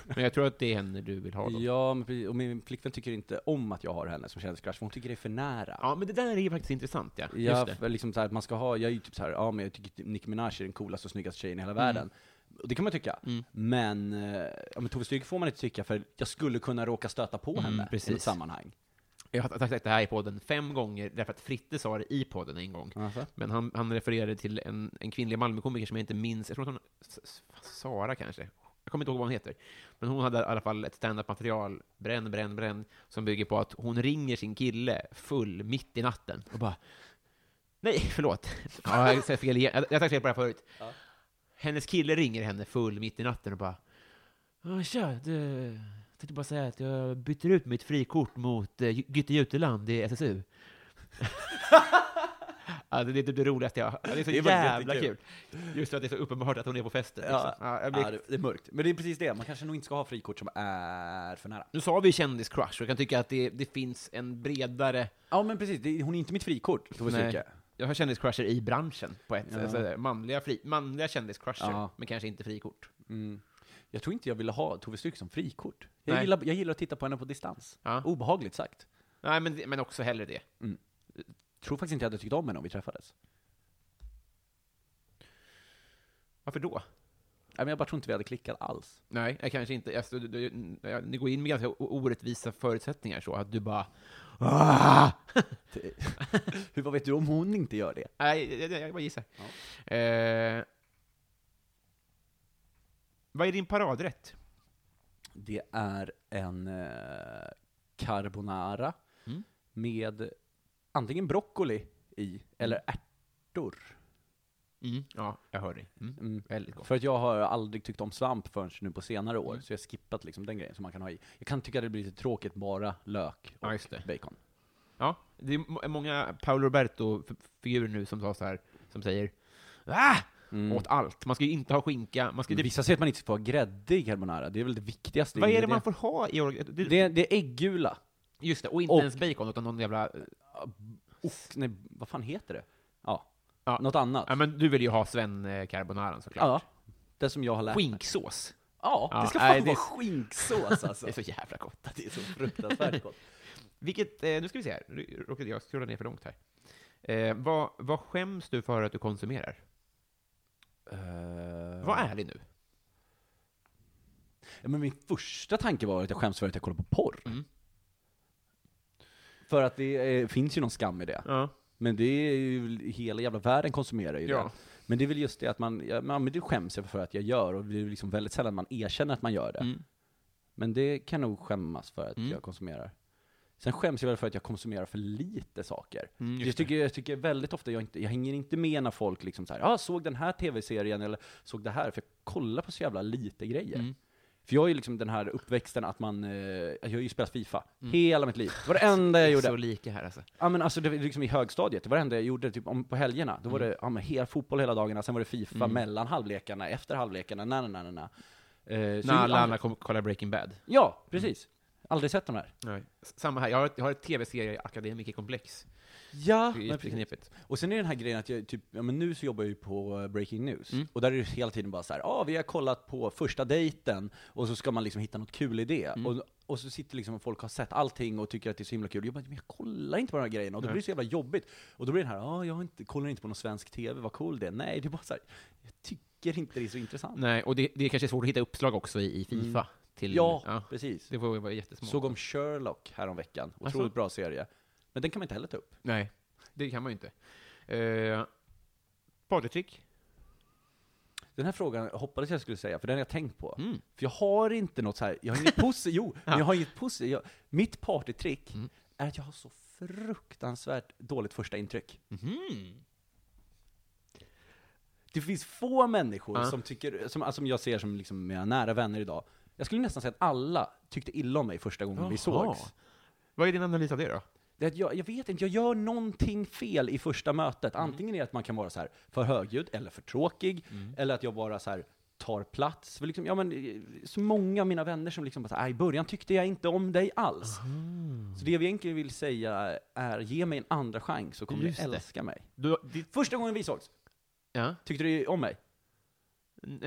Speaker 2: men jag tror att det är henne du vill ha då. Ja.
Speaker 3: Ja, men precis. och min flickvän tycker inte om att jag har henne som kändiscrush, för hon tycker det är för nära.
Speaker 2: men det där är ju faktiskt intressant, ja. Just
Speaker 3: Ja,
Speaker 2: det.
Speaker 3: för liksom så här, att man ska ha, jag är ju typ så här, ja men jag tycker Nicki Minaj är den coolaste och snyggaste tjejen i
Speaker 2: Mm.
Speaker 3: hela världen. Och det kan man tycka. Men, eh, ja, men Tove Styrke får man inte tycka, för jag skulle kunna råka stöta på henne i
Speaker 2: Mm, precis.
Speaker 3: ett sammanhang.
Speaker 2: Jag har sagt det här i podden fem gånger, därför att Fritte sa det i podden en gång. Men han, han refererade till en, en kvinnlig Malmökomiker som jag inte minns, jag tror att hon, S- S- Sara kanske? Jag kommer inte ihåg vad hon heter. Men hon hade i alla fall ett standup-material, bränn, bränn, bränn, som bygger på att hon ringer sin kille full mitt i natten och bara Nej, förlåt. Ja, jag säger fel igen. Jag jag har sagt fel på det här förut. Hennes kille ringer henne full mitt i natten och bara "Ja, Tja, du, jag tänkte bara säga att jag byter ut mitt frikort mot eh, Gytte Juteland i SSU. alltså, det är typ det roligaste jag har Det är så
Speaker 3: Det är faktiskt
Speaker 2: jävla kul.
Speaker 3: jättekul.
Speaker 2: Just för att det är så uppenbart att hon är på festen. Liksom. Ja, jag blir...
Speaker 3: ja, det, det är mörkt. Men det är precis det, man kanske nog inte ska ha frikort som är för nära.
Speaker 2: Nu sa vi ju kändiscrush, och jag kan tycka att det, det finns en bredare...
Speaker 3: Ja men precis, det, hon är inte mitt frikort, Tove Styrke.
Speaker 2: Jag har kändiscrusher i branschen på ett sätt. Alltså, manliga, fri, manliga kändiscrusher,
Speaker 3: Ja.
Speaker 2: men kanske inte frikort.
Speaker 3: Mm. Jag tror inte jag ville ha Tove Styrke som frikort. Jag
Speaker 2: Nej.
Speaker 3: gillar, jag gillar att titta på henne på distans.
Speaker 2: Ja.
Speaker 3: Obehagligt sagt.
Speaker 2: Nej, men, men också hellre det.
Speaker 3: Tror faktiskt inte jag hade tyckt om henne om vi träffades.
Speaker 2: Varför då?
Speaker 3: Nej, men jag bara tror inte vi hade klickat alls.
Speaker 2: Nej, jag kanske inte. Alltså, du, du, jag- ni går in med ganska o- orättvisa förutsättningar så, att du bara... "Ah!"
Speaker 3: Hur, vad vet du om hon inte gör det?
Speaker 2: Nej, jag, jag, jag bara gissar. Eh, vad är din paradrätt?
Speaker 3: Det är en eh, carbonara
Speaker 2: Mm.
Speaker 3: med antingen broccoli i, eller ärtor.
Speaker 2: Ja, jag hör dig. Mm. Väldigt gott. Mm.
Speaker 3: För att jag har aldrig tyckt om svamp förrän nu på senare år, så jag har skippat liksom den grejen som man kan ha i. Jag kan tycka det blir lite tråkigt bara lök och
Speaker 2: Ja, just det.
Speaker 3: bacon.
Speaker 2: Ja, det är må- många Paolo Roberto-figurer nu som, sa så här, som säger ah!
Speaker 3: Mm.
Speaker 2: åt allt. Man ska ju inte ha skinka. Man ska
Speaker 3: Men
Speaker 2: typ,
Speaker 3: Vissa säger att man inte ska få ha grädde i carbonara, det är väl det viktigaste.
Speaker 2: vad är det
Speaker 3: ingrediensen.
Speaker 2: man får ha i orga- det,
Speaker 3: Det, det är äggula.
Speaker 2: Just det, och inte
Speaker 3: och-
Speaker 2: ens bacon, utan någon jävla...
Speaker 3: Ox, nej, vad fan heter det? Ja,
Speaker 2: Ja.
Speaker 3: något annat.
Speaker 2: Ja, men du vill ju ha Sven eh, carbonaran såklart.
Speaker 3: Ja, det som jag har lärt mig.
Speaker 2: Skinksås.
Speaker 3: Ja,
Speaker 2: Ja,
Speaker 3: det ska
Speaker 2: nej,
Speaker 3: fan
Speaker 2: det-
Speaker 3: vara skinksås alltså.
Speaker 2: Det är så jävla gott.
Speaker 3: Det är så fruktansvärt gott.
Speaker 2: Vilket, eh, nu ska vi se här, Nu råkade jag scrolla ner för långt här. Eh, vad, vad skäms du för att du konsumerar?
Speaker 3: Eh,
Speaker 2: Var ärlig nu.
Speaker 3: Ja, Men min första tanke var att jag skäms för att jag kollar på porr. För att det eh, finns ju någon skam i det.
Speaker 2: Ja.
Speaker 3: Men det är ju, hela jävla världen konsumerar ju
Speaker 2: Ja.
Speaker 3: det. Men det är väl just det att man, ja, men det skäms jag för att jag gör, och det är liksom väldigt sällan man erkänner att man gör det.
Speaker 2: Mm.
Speaker 3: Men det kan jag nog skämmas för att jag konsumerar. Sen skäms jag väl för att jag konsumerar för lite saker.
Speaker 2: Mm,
Speaker 3: jag, tycker, jag tycker väldigt ofta, jag, inte, jag hänger inte med när folk
Speaker 2: Mm.
Speaker 3: liksom så här, ah, såg den här tv-serien eller såg det här, för jag kollar på så jävla lite grejer. För jag är ju liksom den här uppväxten att man, eh, jag har ju spelat Fifa hela mitt liv. Varenda jag
Speaker 2: Så
Speaker 3: gjorde,
Speaker 2: lika här alltså.
Speaker 3: ja men alltså det var liksom i högstadiet, varenda jag gjorde typ om, på helgerna, då var det ja, men hel, fotboll hela dagarna, sen var det Fifa mellan halvlekarna, efter halvlekarna, na na na na na. Eh, så
Speaker 2: När
Speaker 3: gjorde-
Speaker 2: alla andra kommer kolla Breaking Bad.
Speaker 3: Ja, precis. Aldrig sett de här.
Speaker 2: Nej. S- Samma här, jag har ett, jag har ett tv-serieakademikerkomplex.
Speaker 3: Ja,
Speaker 2: Det är jätteknepigt.
Speaker 3: Och sen är den här grejen att jag typ, ja men nu så jobbar jag ju på eh, Breaking News,
Speaker 2: Mm.
Speaker 3: och där är det hela tiden bara så här, ah, vi har kollat på första dejten, och så ska man liksom hitta något kul i det.
Speaker 2: Mm.
Speaker 3: Och, och så sitter liksom folk har sett allting och tycker att det är så himla kul. Jag bara, men jag kollar inte på de här grejerna, och då blir det så jävla jobbigt. Och då blir det här, ah, jag har inte, kollar inte på någon svensk TV, vad cool det är. Nej, det är bara så här, jag tycker inte det är så intressant.
Speaker 2: Nej, och det, det är kanske svårt att hitta uppslag också i, i Fifa. Till,
Speaker 3: Mm. Ja, precis.
Speaker 2: Det får ju vara jättesmå.
Speaker 3: Såg om Sherlock häromveckan, otroligt
Speaker 2: Alltså?
Speaker 3: bra serie. Men den kan man inte heller ta upp.
Speaker 2: Nej, det kan man ju inte. Eh, Partytrick?
Speaker 3: Den här frågan hoppades jag skulle säga, för den har jag tänkt på. För jag har inte något så här, jag har inget positivt, jo, men jag har inget positivt. Jag- Mitt partytrick
Speaker 2: Mm.
Speaker 3: är att jag har så fruktansvärt dåligt första intryck.
Speaker 2: Mm-hmm.
Speaker 3: Det finns få människor
Speaker 2: Ja.
Speaker 3: som tycker, som, alltså, som jag ser som liksom mina nära vänner idag, jag skulle nästan säga att alla tyckte illa om mig första gången vi
Speaker 2: Jaha.
Speaker 3: sågs.
Speaker 2: Vad är din analys av det då?
Speaker 3: Det är att jag, jag vet inte, jag gör någonting fel i första mötet.
Speaker 2: Mm.
Speaker 3: Antingen är det att man kan vara så här för högljudd eller för tråkig,
Speaker 2: Mm.
Speaker 3: eller att jag bara så här tar plats. För liksom, ja, men, eh, så många av mina vänner som liksom bara så här, "Ah, i början tyckte jag inte om dig alls. Så det jag egentligen vill säga är, ge mig en andra chans så kommer
Speaker 2: Just
Speaker 3: du
Speaker 2: det.
Speaker 3: älska mig.
Speaker 2: Du, ditt,
Speaker 3: Första gången vi sågs,
Speaker 2: ja.
Speaker 3: tyckte du om mig?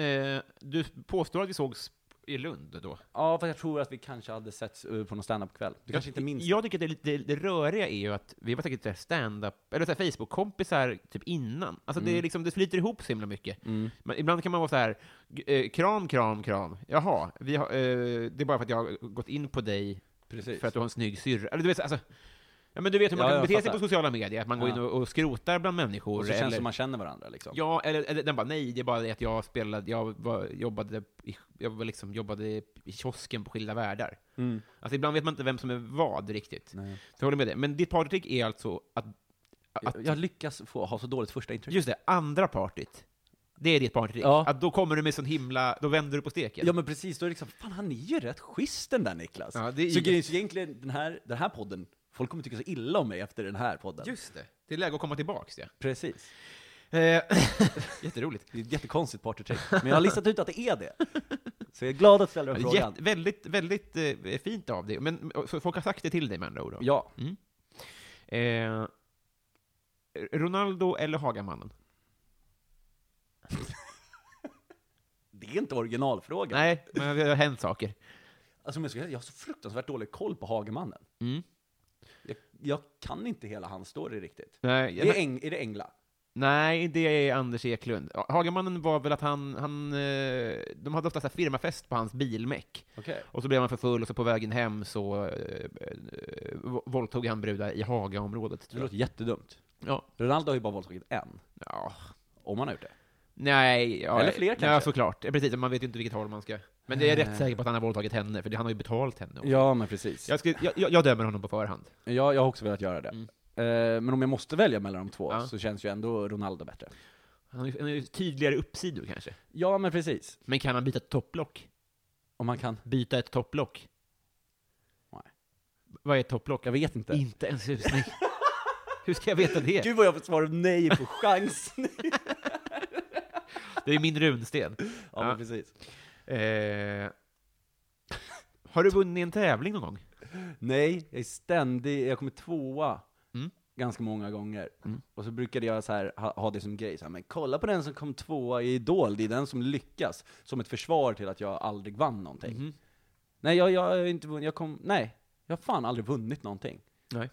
Speaker 2: eh, du påstår att vi sågs i Lund då?
Speaker 3: Ja, för jag tror att vi kanske hade setts eh, på någon standup-kväll. Du kanske inte minns?
Speaker 2: Jag tycker att det, är lite- det röriga är ju att vi var säkert så här stand-up, eller så här Facebook-kompisar typ innan. Alltså det,
Speaker 3: Mm.
Speaker 2: är liksom, det flyter ihop så himla mycket. Men ibland kan man vara så här, g- eh, kram, kram, kram. Jaha, vi har, eh, det är bara för att jag har gått in på dig
Speaker 3: Precis.
Speaker 2: för att du har en snygg syrra. Eller du vet, alltså, ja, men du vet hur man
Speaker 3: Ja,
Speaker 2: kan
Speaker 3: jag
Speaker 2: bete sig
Speaker 3: fattar.
Speaker 2: på sociala medier, att man går
Speaker 3: Ja.
Speaker 2: in och, och skrotar bland människor.
Speaker 3: Och så känns det
Speaker 2: eller,
Speaker 3: som man känner varandra liksom.
Speaker 2: Ja, eller, eller den bara nej, det är bara det att jag spelade, jag var, jobbade, i, jag var liksom, jobbade i kiosken på skilda världar. Alltså ibland vet man inte vem som är vad riktigt.
Speaker 3: Mm. Nej.
Speaker 2: Så jag håller med dig. Men ditt partytrick är alltså att, att
Speaker 3: Jag, jag lyckas få, ha så dåligt första intryck.
Speaker 2: just det, andra partyt, det är ditt partytrick.
Speaker 3: Ja.
Speaker 2: Att då kommer du med sån himla, då vänder du på steken.
Speaker 3: Ja men precis, då är det liksom, fan han är ju rätt schysst den där Niklas.
Speaker 2: Ja, det är
Speaker 3: så,
Speaker 2: ju-
Speaker 3: grejen- så egentligen, den här, den här podden, folk kommer tycka så illa om mig efter den här podden.
Speaker 2: Just det, det är läge att komma tillbaks ja.
Speaker 3: Precis.
Speaker 2: Eh, Jätteroligt.
Speaker 3: Det är ett jättekonstigt partytrick, men jag har listat ut att det är det. Så jag är glad att du ställer den frågan.
Speaker 2: Jätte, väldigt, väldigt eh, fint av dig. Men och så folk har sagt det till dig med andra ord? då?
Speaker 3: Ja,
Speaker 2: Eh, Ronaldo eller Hagamannen?
Speaker 3: det är inte originalfrågan.
Speaker 2: Nej, men det har hänt saker.
Speaker 3: Alltså, men jag ska- jag har så fruktansvärt dålig koll på Hagemannen.
Speaker 2: Mm.
Speaker 3: Jag, jag kan inte hela hans story riktigt.
Speaker 2: Nej,
Speaker 3: Det är, Eng, är det Engla?
Speaker 2: nej, det är Anders Eklund. Ja, Hagamannen var väl att han, han eh, de hade ofta så här firmafest på hans bilmek.
Speaker 3: Okej.
Speaker 2: Och så blev han för full och så på vägen hem så eh, eh, våldtog han brudar i Hagaområdet.
Speaker 3: Det
Speaker 2: Tror jag.
Speaker 3: låter jättedumt.
Speaker 2: Ja.
Speaker 3: Ronaldo har ju bara våldtagit en,
Speaker 2: ja.
Speaker 3: om han har gjort det.
Speaker 2: Nej, ja,
Speaker 3: Eller fler kanske.
Speaker 2: Ja, såklart. Ja, Precis, man vet ju inte vilket håll man ska... Men det är jag rätt säker på att han har våldtagit henne, för det, han har ju betalt henne. också.
Speaker 3: Ja, men precis.
Speaker 2: Jag, skulle, jag, jag, jag dömer honom på förhand.
Speaker 3: Jag, jag har också velat göra det. Eh, men om jag måste välja mellan de två
Speaker 2: Ja.
Speaker 3: så känns ju ändå Ronaldo bättre.
Speaker 2: Han har ju- han har ju tydligare uppsidor kanske.
Speaker 3: Ja, men precis.
Speaker 2: Men kan han byta ett topplock?
Speaker 3: Om man kan.
Speaker 2: Byta ett topplock?
Speaker 3: Nej.
Speaker 2: Vad är ett topplock?
Speaker 3: Jag vet inte.
Speaker 2: Inte ens husning. Hur ska jag veta det?
Speaker 3: Gud vad jag får svara nej på chansen.
Speaker 2: Det är min runsten.
Speaker 3: ja, men precis.
Speaker 2: Eh, har du vunnit en tävling någon gång?
Speaker 3: Nej, jag är ständig, jag kommer tvåa
Speaker 2: Mm.
Speaker 3: ganska många gånger. Och så brukade jag så här, ha, ha det som grej, så här, men kolla på den som kom tvåa i Idol, det är den som lyckas. Som ett försvar till att jag aldrig vann någonting.
Speaker 2: Mhm.
Speaker 3: Nej, jag, jag har inte vunnit, jag kom, nej, jag har fan aldrig vunnit någonting.
Speaker 2: Nej.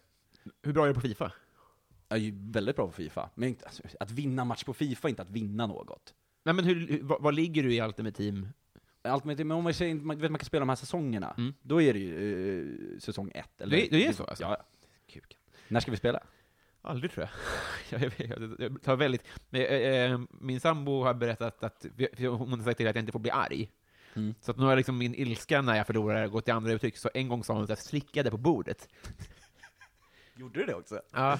Speaker 2: Hur bra är du på Fifa?
Speaker 3: Jag är ju väldigt bra på Fifa, men inte, alltså, att vinna match på Fifa är inte att vinna något.
Speaker 2: Nej, men hur, hur, vad, vad ligger du i Ultimate Team?
Speaker 3: Allt med, men om man, säger, man, vet, man kan spela de här säsongerna, då är det ju eh, säsong ett. Eller,
Speaker 2: Mm. Det är- det är så, alltså?
Speaker 3: Ja. När ska vi spela?
Speaker 2: Aldrig tror jag. Jag, jag, jag, jag tar väldigt... men, eh, eh, Min sambo har berättat att, för hon har sagt till att jag inte får bli arg.
Speaker 3: Mm.
Speaker 2: Så att nu har liksom min ilska när jag förlorar gått till andra uttryck, så en gång sa hon att jag slickade på bordet.
Speaker 3: Gjorde du det också?
Speaker 2: Ja.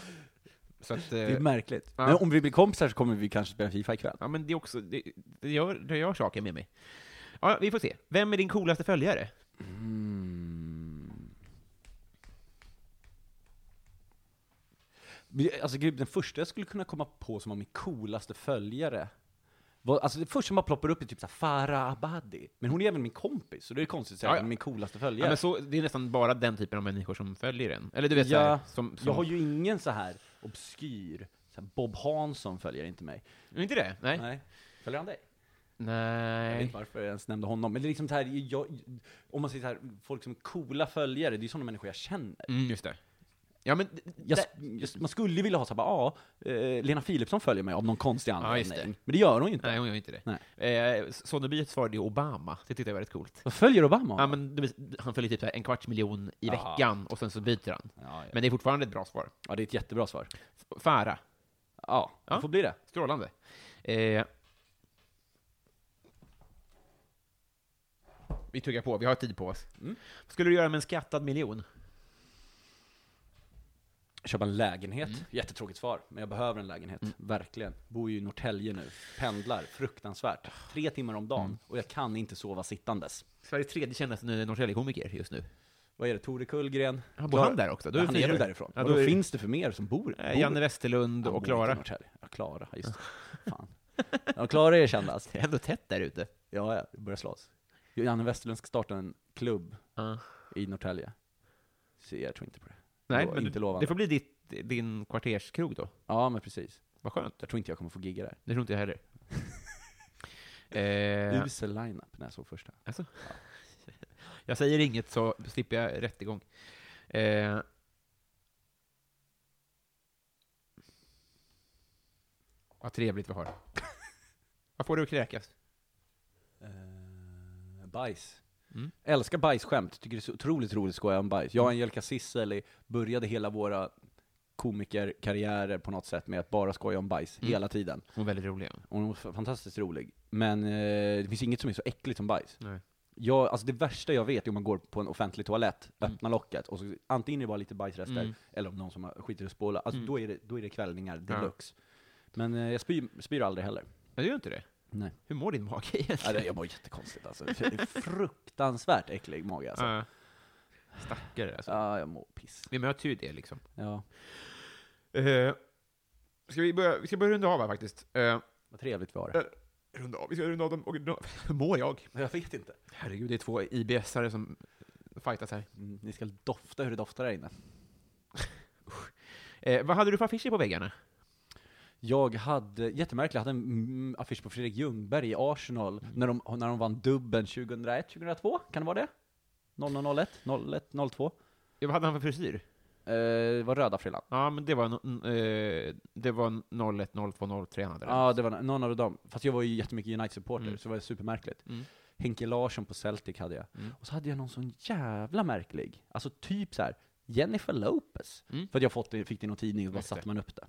Speaker 2: Så att,
Speaker 3: Det är
Speaker 2: eh,
Speaker 3: märkligt.
Speaker 2: Ja.
Speaker 3: Men om vi blir kompisar så kommer vi kanske spela Fifa ikväll.
Speaker 2: ja men det är också, det, det, gör, det gör saker med mig. Ja, vi får se. Vem är din coolaste följare?
Speaker 3: Mm. Vi- Alltså gud, den första jag skulle kunna komma på som var min coolaste följare var, alltså det första som bara ploppar upp är typ såhär Farah Abadi. Men hon är även min kompis, så det är konstigt att säga
Speaker 2: Ja,
Speaker 3: att
Speaker 2: ja.
Speaker 3: hon är min coolaste
Speaker 2: Ja,
Speaker 3: följare.
Speaker 2: men så, det är nästan bara den typen av människor som följer en. Eller du vet, så
Speaker 3: jag,
Speaker 2: här, som, som...
Speaker 3: jag har ju ingen så här obskyr, så här Bob Hansson följer inte mig.
Speaker 2: Inte det? Nej. Nej.
Speaker 3: Nej. Följer han dig? Jag vet inte varför jag ens nämnde honom. Men det är liksom så här, jag, om man säger så här, folk som är coola följare, det är sådana människor jag känner.
Speaker 2: Mm, just det. Ja, men...
Speaker 3: Jag, jag, man skulle ju vilja ha såhär, bara, ja, eh, Lena Philipsson följer mig av någon konstig
Speaker 2: just
Speaker 3: anledning.
Speaker 2: det.
Speaker 3: Men det gör hon ju inte.
Speaker 2: Nej, hon gör inte det.
Speaker 3: Nej.
Speaker 2: Eh, Sonneby svarade ju Obama. Det tyckte jag var rätt coolt.
Speaker 3: Vad följer Obama
Speaker 2: Ja,
Speaker 3: honom?
Speaker 2: men, du vet, han följer typ så här en kvarts miljon i
Speaker 3: Aha.
Speaker 2: veckan, och sen så byter han.
Speaker 3: Ja, ja.
Speaker 2: Men det är fortfarande ett bra svar.
Speaker 3: ja, det är ett jättebra svar.
Speaker 2: Fara.
Speaker 3: Ja, det
Speaker 2: Ja.
Speaker 3: får bli det.
Speaker 2: Strålande. Eh, vi tuggar på, vi har tid på oss.
Speaker 3: Mm.
Speaker 2: Vad skulle du göra med en skattad miljon?
Speaker 3: Köpa en lägenhet.
Speaker 2: Mm.
Speaker 3: Jättetråkigt svar, men jag behöver en lägenhet. Verkligen. Bor ju i Norrtälje nu. Pendlar
Speaker 2: Ah.
Speaker 3: fruktansvärt. Tre timmar om
Speaker 2: Mm.
Speaker 3: dagen. Och jag kan inte sova sittandes.
Speaker 2: Sveriges tredje kändaste Norrtäljekomiker just nu.
Speaker 3: Vad är det? Tore Kullgren?
Speaker 2: Ja, bor
Speaker 3: Klara-
Speaker 2: han där också? Då är vi
Speaker 3: Ja, han är
Speaker 2: fyra.
Speaker 3: väl därifrån?
Speaker 2: Ja,
Speaker 3: Ja,
Speaker 2: då är
Speaker 3: då
Speaker 2: vi-
Speaker 3: finns det för mer som bor? bor?
Speaker 2: Eh, Janne Westerlund
Speaker 3: Han bor
Speaker 2: och
Speaker 3: inte i
Speaker 2: Klara.
Speaker 3: Norrtälje. Ja, Klara, just det. Fan. Ja, Klara är kändast.
Speaker 2: Det är ändå tätt där ute.
Speaker 3: Ja, ja, vi börjar slåss. Janne Westerlund ska starta en klubb
Speaker 2: Ja.
Speaker 3: i Norrtälje. Så jag tror inte på det.
Speaker 2: Nej,
Speaker 3: Lo-
Speaker 2: men
Speaker 3: inte
Speaker 2: du-
Speaker 3: lovande.
Speaker 2: det får bli ditt, din kvarterskrog då.
Speaker 3: Ja, men precis.
Speaker 2: Vad skönt.
Speaker 3: Jag tror inte jag kommer få gigga där.
Speaker 2: Det tror inte jag heller. eh,
Speaker 3: Usel lineup när jag såg första.
Speaker 2: alltså. jag säger inget så slipper jag rättegång. Eh, vad trevligt vi har. Vad får du att kräkas?
Speaker 3: Uh, bajs.
Speaker 2: Mm.
Speaker 3: Älskar bajsskämt. Tycker det är så otroligt roligt att skoja om bajs. Jag och Angelica Cisseli började hela våra komikerkarriärer på något sätt med att bara skoja om bajs
Speaker 2: Mm.
Speaker 3: hela tiden.
Speaker 2: Hon är väldigt rolig.
Speaker 3: Och Hon var f- fantastiskt rolig. Men eh, det finns inget som är så äckligt som bajs.
Speaker 2: Nej.
Speaker 3: Jag, alltså det värsta jag vet är om man går på en offentlig toalett,
Speaker 2: Mm.
Speaker 3: öppnar locket, och så antingen är det bara lite bajsrester,
Speaker 2: Mm.
Speaker 3: eller om någon som har skiter i att spola, alltså
Speaker 2: Mm.
Speaker 3: då, är det, då är det kvällningar
Speaker 2: Ja.
Speaker 3: deluxe. Men eh, jag spyr, spyr aldrig heller.
Speaker 2: Men du gör inte det?
Speaker 3: Nej.
Speaker 2: Hur mår din mage egentligen?
Speaker 3: Ja, det, jag mår jättekonstigt alltså. Det är Fruktansvärt äcklig mage alltså.
Speaker 2: Ja. Stackare alltså.
Speaker 3: Ja, jag mår piss.
Speaker 2: Vi möter ju det liksom.
Speaker 3: Ja.
Speaker 2: Eh, ska vi, börja, vi ska börja runda av här faktiskt. Eh,
Speaker 3: Vad trevligt vi har
Speaker 2: Eh,
Speaker 3: det.
Speaker 2: runda av, vi ska runda av dem. och runda av. Hur mår Eh, jag?
Speaker 3: Jag vet inte.
Speaker 2: Herregud, det är två IBS-are som fightas här.
Speaker 3: Mm, ni ska dofta hur det doftar där inne.
Speaker 2: Eh, vad hade du för affischer på väggarna?
Speaker 3: Jag hade, jättemärkligt, jag hade en mm, affisch på Fredrik Ljungberg i Arsenal när, de, när de vann dubbeln 2001, 2002? Kan det vara det? 0001, 01, 02?
Speaker 2: Ja, vad hade han för frisyr?
Speaker 3: Eh, det var röda frillan.
Speaker 2: Ja, men det var, no, eh, det var 01, 02, 03 han hade där.
Speaker 3: Ja, det var någon av dem. Fast jag var ju jättemycket United-supporter,
Speaker 2: Mm.
Speaker 3: så det var supermärkligt.
Speaker 2: Mm.
Speaker 3: Henke Larsson på Celtic hade jag.
Speaker 2: Mm.
Speaker 3: Och så hade jag någon sån jävla märklig, alltså typ så här Jennifer Lopez.
Speaker 2: Mm.
Speaker 3: För att jag fått det, fick det i någon tidning och bara
Speaker 2: Just det.
Speaker 3: satte man upp det.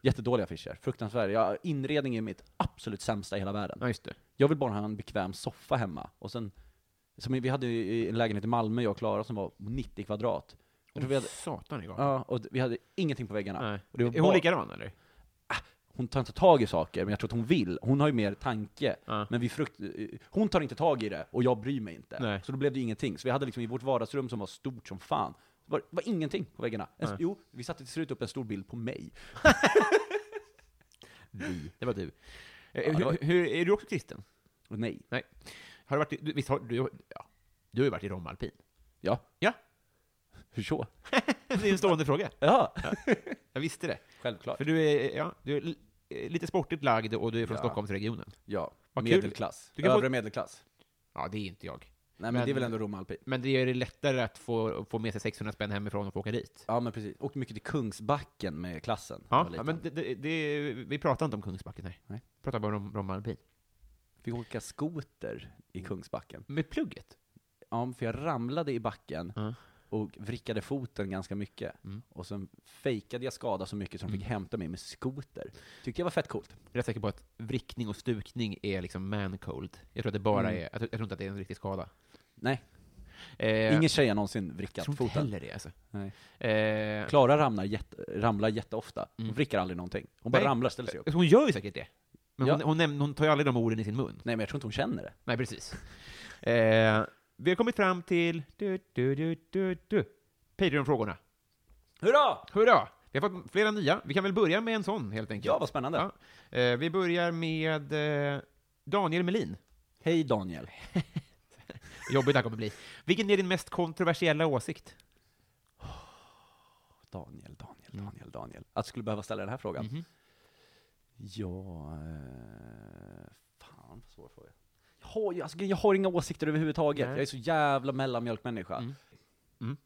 Speaker 3: Jättedåliga affischer, fruktansvärda. Jag, inredning är mitt absolut sämsta i hela världen.
Speaker 2: Ja, just det.
Speaker 3: Jag vill bara ha en bekväm soffa hemma. Och sen, som vi hade ju en lägenhet i Malmö, jag och Klara, som var 90 kvadrat. Jag tror vi hade,
Speaker 2: Satan i gatan.
Speaker 3: ja, och vi hade ingenting på väggarna.
Speaker 2: Nej.
Speaker 3: Och det var
Speaker 2: Är hon
Speaker 3: bara-
Speaker 2: likadan eller?
Speaker 3: Hon tar inte tag i saker, men jag tror att hon vill. Hon har ju mer tanke.
Speaker 2: Ja.
Speaker 3: Men vi frukt... eh, Hon tar inte tag i det, och jag bryr mig inte.
Speaker 2: Nej.
Speaker 3: Så då blev det ingenting. Så vi hade liksom i vårt vardagsrum som var stort som fan, det var, var ingenting på väggarna. En,
Speaker 2: Nej.
Speaker 3: Jo, vi satte till slut upp en stor bild på mig.
Speaker 2: Det var du. Eh,
Speaker 3: Ja, det var-
Speaker 2: hur, hur, är du också kristen?
Speaker 3: Och nej.
Speaker 2: Har du varit, i- du, visst har du, ja, du har ju varit i Romalpin?
Speaker 3: Ja.
Speaker 2: Ja.
Speaker 3: Hur så?
Speaker 2: Det är en stående fråga.
Speaker 3: Ja,
Speaker 2: Jag visste det.
Speaker 3: självklart.
Speaker 2: För du är, ja, du är li- eh, lite sportigt lagd och du är från
Speaker 3: Ja.
Speaker 2: Stockholmsregionen.
Speaker 3: Ja.
Speaker 2: Vad kul.
Speaker 3: medelklass.
Speaker 2: Du kan få-
Speaker 3: Övre medelklass.
Speaker 2: Ja, det är inte jag.
Speaker 3: Nej men,
Speaker 2: Men-
Speaker 3: det är väl ändå romalpin.
Speaker 2: Men det gör det lättare att få, få med sig 600 spänn hemifrån och få åka dit.
Speaker 3: Ja men precis. Åkte mycket till Kungsbacken med klassen. när jag
Speaker 2: Ja,
Speaker 3: var
Speaker 2: ja
Speaker 3: liten.
Speaker 2: men det, det, det, vi pratar inte om Kungsbacken här.
Speaker 3: Nej.
Speaker 2: Vi pratar bara om Bromma alpin.
Speaker 3: Fick åka skoter i
Speaker 2: Mm.
Speaker 3: Kungsbacken.
Speaker 2: Med plugget?
Speaker 3: Ja, för jag ramlade i backen
Speaker 2: Ja.
Speaker 3: och vrickade foten ganska mycket.
Speaker 2: Mm.
Speaker 3: Och sen fejkade jag skada så mycket som de fick hämta mig med skoter. Tyckte jag var fett coolt.
Speaker 2: Jag är rätt säker på att vrickning och stukning är liksom man-cold. Jag tror att det bara
Speaker 3: Mm.
Speaker 2: är, jag tror, jag tror inte att det är en riktig skada.
Speaker 3: Nej,
Speaker 2: Eh,
Speaker 3: ingen tjej har någonsin
Speaker 2: jag
Speaker 3: vrickat
Speaker 2: tror inte
Speaker 3: foten.
Speaker 2: heller det alltså.
Speaker 3: Nej.
Speaker 2: Eh,
Speaker 3: Klara ramlar, jätte, ramlar jätteofta. Hon
Speaker 2: Mm.
Speaker 3: vrickar aldrig någonting. Hon bara
Speaker 2: Nej.
Speaker 3: ramlar, ställer sig upp.
Speaker 2: hon Eh, gör ju säkert det. Men
Speaker 3: Ja.
Speaker 2: hon, hon, näm- hon tar ju aldrig de orden i sin mun.
Speaker 3: Nej, men jag tror inte hon känner det.
Speaker 2: Nej, precis. Eh, vi har kommit fram till du, du, du, du, du. Patreon-frågorna.
Speaker 3: Hurra!
Speaker 2: Hurra! Vi har fått flera nya. Vi kan väl börja med en sån, helt enkelt.
Speaker 3: Ja, vad spännande.
Speaker 2: Ja. Eh, vi börjar med eh, Daniel Melin.
Speaker 3: Hej Daniel.
Speaker 2: Jobbigt det här kommer bli. Vilken är din mest kontroversiella åsikt?
Speaker 3: Daniel, Daniel,
Speaker 2: Mm.
Speaker 3: Daniel, Daniel. Att jag skulle behöva ställa den här frågan.
Speaker 2: Mhm. Mm-hmm.
Speaker 3: Ja, eh, fan vad svår fråga. Jag har, ju- alltså, jag har inga åsikter överhuvudtaget.
Speaker 2: Nej.
Speaker 3: Jag är så jävla mellanmjölkmänniska.
Speaker 2: Mm. Mm.